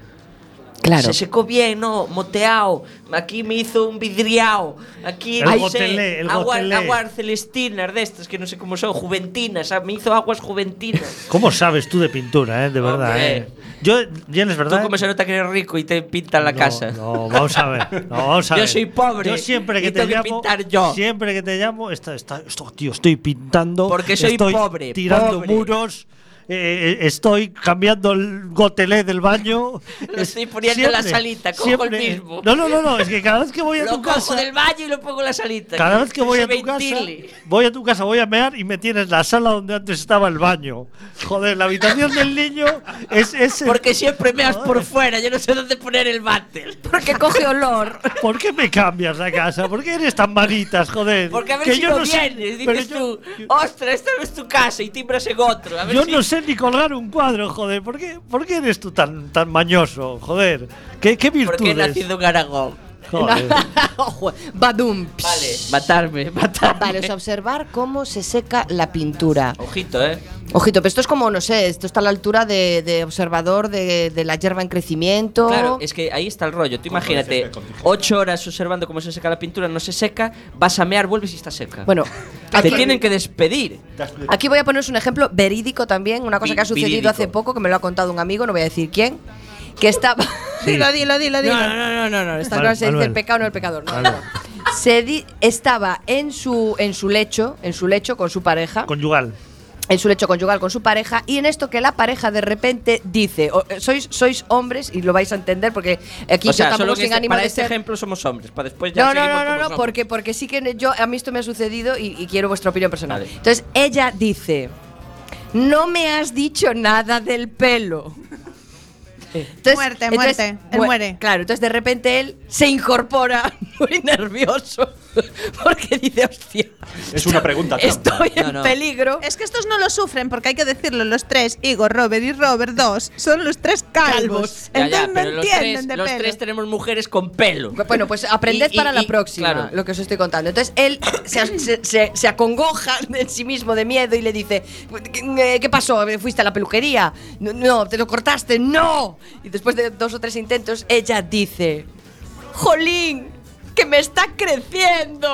L: Claro.
K: Se secó bien, ¿no? Moteado. Aquí me hizo un vidriao. Aquí
M: El
K: no sé,
M: gotelé, el
K: agua-
M: gotelé.
K: aguas celestinas de estas que no sé cómo son, juventinas. ah, Me hizo aguas juventinas.
M: ¿Cómo sabes tú de pintura, eh? De verdad,
K: Hombre.
M: eh. Yo, bien, es verdad.
K: Tú como se nota que eres rico y te pintan la casa.
M: No, vamos a ver. No, vamos a
K: Yo
M: ver.
K: soy pobre
M: Yo siempre
K: y
M: que te
K: tengo que
M: llamo.
K: pintar yo.
M: Siempre que te llamo, está, está, esto, tío, estoy pintando.
K: Porque soy
M: estoy
K: pobre,
M: Tirando
K: pobre.
M: muros. eh, eh, estoy cambiando el gotelé del baño.
K: Lo estoy poniendo en la salita, cojo el mismo.
M: No, no, no, no, es que cada vez que voy a
K: lo
M: tu
K: cojo
M: casa.
K: del baño y lo pongo en la salita.
M: Cada vez que voy
K: se
M: a tu casa,
K: ventile.
M: voy a tu casa, voy a mear y me tienes la sala donde antes estaba el baño. Joder, la habitación del niño es ese. Porque
K: siempre meas por fuera, yo no sé dónde poner el váter.
M: Porque coge olor. ¿Por qué me cambias la casa? ¿Por qué eres tan manitas, joder?
K: Porque a ver
M: Que
K: si
M: yo
K: no
M: sé-
K: vienes,
M: pero
K: dices
M: yo-
K: tú, ostras, esta no es tu casa y timbras en otro. A ver
M: Yo
K: si
M: no sé ni colgar un cuadro, joder. ¿Por qué, por qué eres tú tan, tan mañoso, joder? ¿Qué, qué virtudes?
K: porque he nacido en Aragón.
M: Joder.
L: Ojo, badum.
K: Vale, matarme, matarme.
L: Vale, o sea, observar cómo se seca la pintura.
K: Ojito, eh.
L: Ojito, pero esto es como, no sé, esto está a la altura de, de observador de, de la hierba en crecimiento.
K: Claro, es que ahí está el rollo. Tú imagínate, ocho horas observando cómo se seca la pintura, no se seca, vas a mear, vuelves y está seca.
L: Bueno,
K: te
L: aquí-
K: tienen que despedir.
L: Aquí voy a poneros un ejemplo verídico también, una cosa
K: Vi-
L: que ha sucedido
K: virídico.
L: hace poco, que me lo ha contado un amigo, no voy a decir quién, que estaba... dilo, dilo, dilo, dilo.
K: No, no, no, no, no,
L: Estas
K: Manu-
L: cosas se dice
K: Manuel.
L: el pecado, no el pecador. no,
K: Manuel.
L: no. Se di- estaba en su, en su lecho, en su lecho con su pareja.
M: Conyugal.
L: En su lecho conyugal con su pareja y en esto que la pareja de repente dice, o- eh, sois, sois hombres y lo vais a entender porque aquí
K: o sea,
L: yo
K: solo
L: tampoco
K: que
L: sin
K: este-
L: ánimo
K: para
L: de
K: este
L: ser-
K: ejemplo somos hombres, para después ya
L: no, no,
K: seguimos
L: no,
K: como
L: no, no,
K: somos.
L: porque, porque sí que yo, a mí esto me ha sucedido y, y quiero vuestra opinión personal. Entonces, ella dice, no me has dicho nada del pelo. Entonces-
S: Muerte,
L: entonces,
S: muerte. Él
L: mue-
S: muere.
L: Claro, entonces de repente él se incorpora muy nervioso porque dice, hostia,
O: Es una pregunta trampa.
L: peligro.
S: Es que estos no lo sufren porque hay que decirlo, los tres, Igor, Robert y Robert dos, son los tres calvos.
K: Ya, ya, pero
S: Entonces no
K: los
S: entienden
K: tres,
S: de
K: los
S: pelo.
K: tres tenemos mujeres con pelo.
L: Bueno, pues aprended
K: Y- y-
L: para la
K: y-
L: próxima
K: claro.
L: lo que os estoy contando. Entonces él se, se- se- se acongoja en sí mismo de miedo y le dice: ¿Qué, qué pasó? ¿Fuiste a la peluquería? No, No, te lo cortaste, no. Y después de dos o tres intentos, ella dice: ¡Jolín! ¡Que me está creciendo!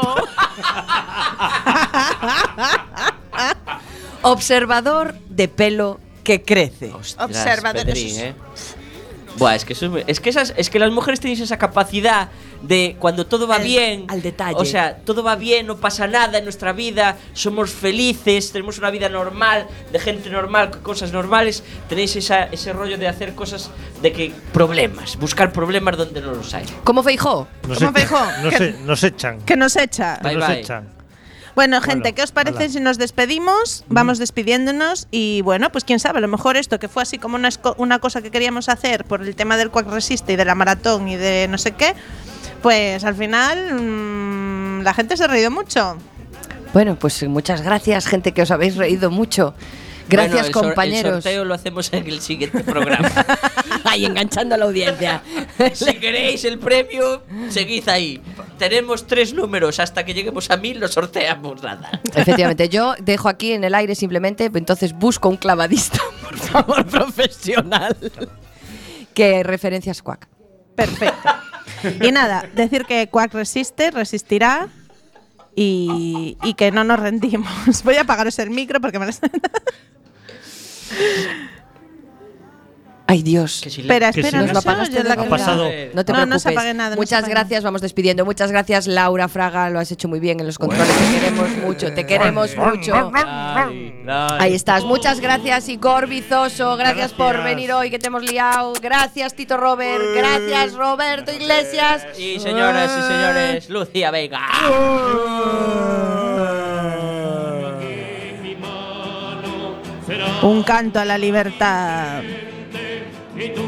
L: Observador de pelo que crece.
K: Ostras, Pedrín, ¿eh? Buah, es que, eso es, muy- es que esas, es que las mujeres tenéis esa capacidad de cuando todo va bien. Al detalle. O sea, todo va bien, no pasa nada en nuestra vida, somos felices, tenemos una vida normal, de gente normal, con cosas normales. Tenéis esa- ese rollo de hacer cosas de que. Problemas, buscar problemas donde no los hay.
L: ¿Cómo feijó?
M: Nos
S: ¿Cómo
M: echan,
S: Feijó?
M: nos
S: Que-
M: e- Nos echan.
S: Que nos echa.
M: Nos echan.
S: Bueno, gente, ¿qué os parece
M: hala.
S: si nos despedimos? Vamos despidiéndonos y bueno, pues quién sabe, a lo mejor esto que fue así como una, esco- una cosa que queríamos hacer por el tema del Quack Resiste y de la maratón y de no sé qué, pues al final mm, la gente se ha reído mucho.
L: Bueno, pues muchas gracias, gente que os habéis reído mucho.
K: Bueno,
L: Gracias,
K: el sor- El
L: compañeros.
K: sorteo lo hacemos en el siguiente programa.
L: Ahí enganchando a la audiencia.
K: si queréis el premio, seguid ahí. Tenemos tres números. Hasta que lleguemos a mil, lo sorteamos. Nada.
L: Efectivamente, yo dejo aquí en el aire simplemente, entonces busco un clavadista, por favor, profesional, que referencias cuac.
S: Perfecto. y nada, decir que Quack resiste, resistirá y, y que no nos rendimos. Voy a apagaros el micro porque me lo están-
L: Ay, Dios.
S: Espera, espera, no
L: Nos lo
S: se oye
L: apagaste
S: la
L: de
S: cámara.
L: verdad. No te
S: No, no
L: preocupes.
S: se apague nada, no se
L: Muchas
S: apague
L: gracias, vamos despidiendo. Muchas gracias, Laura Fraga, lo has hecho muy bien en los controles. Te queremos mucho, te queremos mucho. Ahí estás. Muchas gracias, Igor Bizoso. Gracias, por
K: Gracias.
L: venir hoy, que te hemos liado. Gracias, Tito Robert. Gracias, Roberto Iglesias.
K: Y señoras y señores, Lucía Vega.
S: Un canto a la libertad.
X: Y tú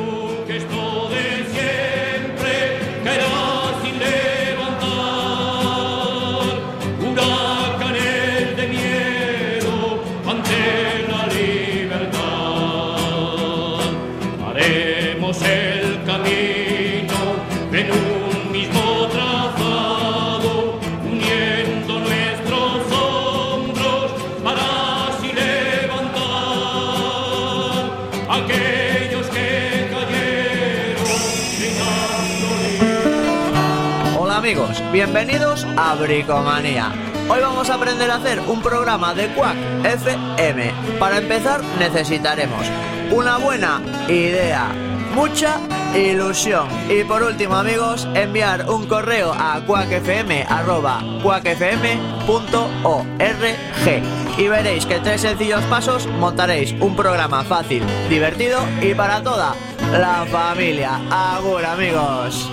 X: que esto de siempre caerás sin levantar huracanes de miedo ante la libertad. Haremos el camino en un mismo trazado, uniendo nuestros hombros para así levantar
T: aquellos que
E: Hola amigos, bienvenidos a Bricomanía. Hoy vamos a aprender a hacer un programa de Quack FM. Para empezar necesitaremos una buena idea, mucha ilusión y por último amigos enviar un correo a quackfm.org y veréis que en tres sencillos pasos montaréis un programa fácil, divertido y para toda la familia. Agur amigos.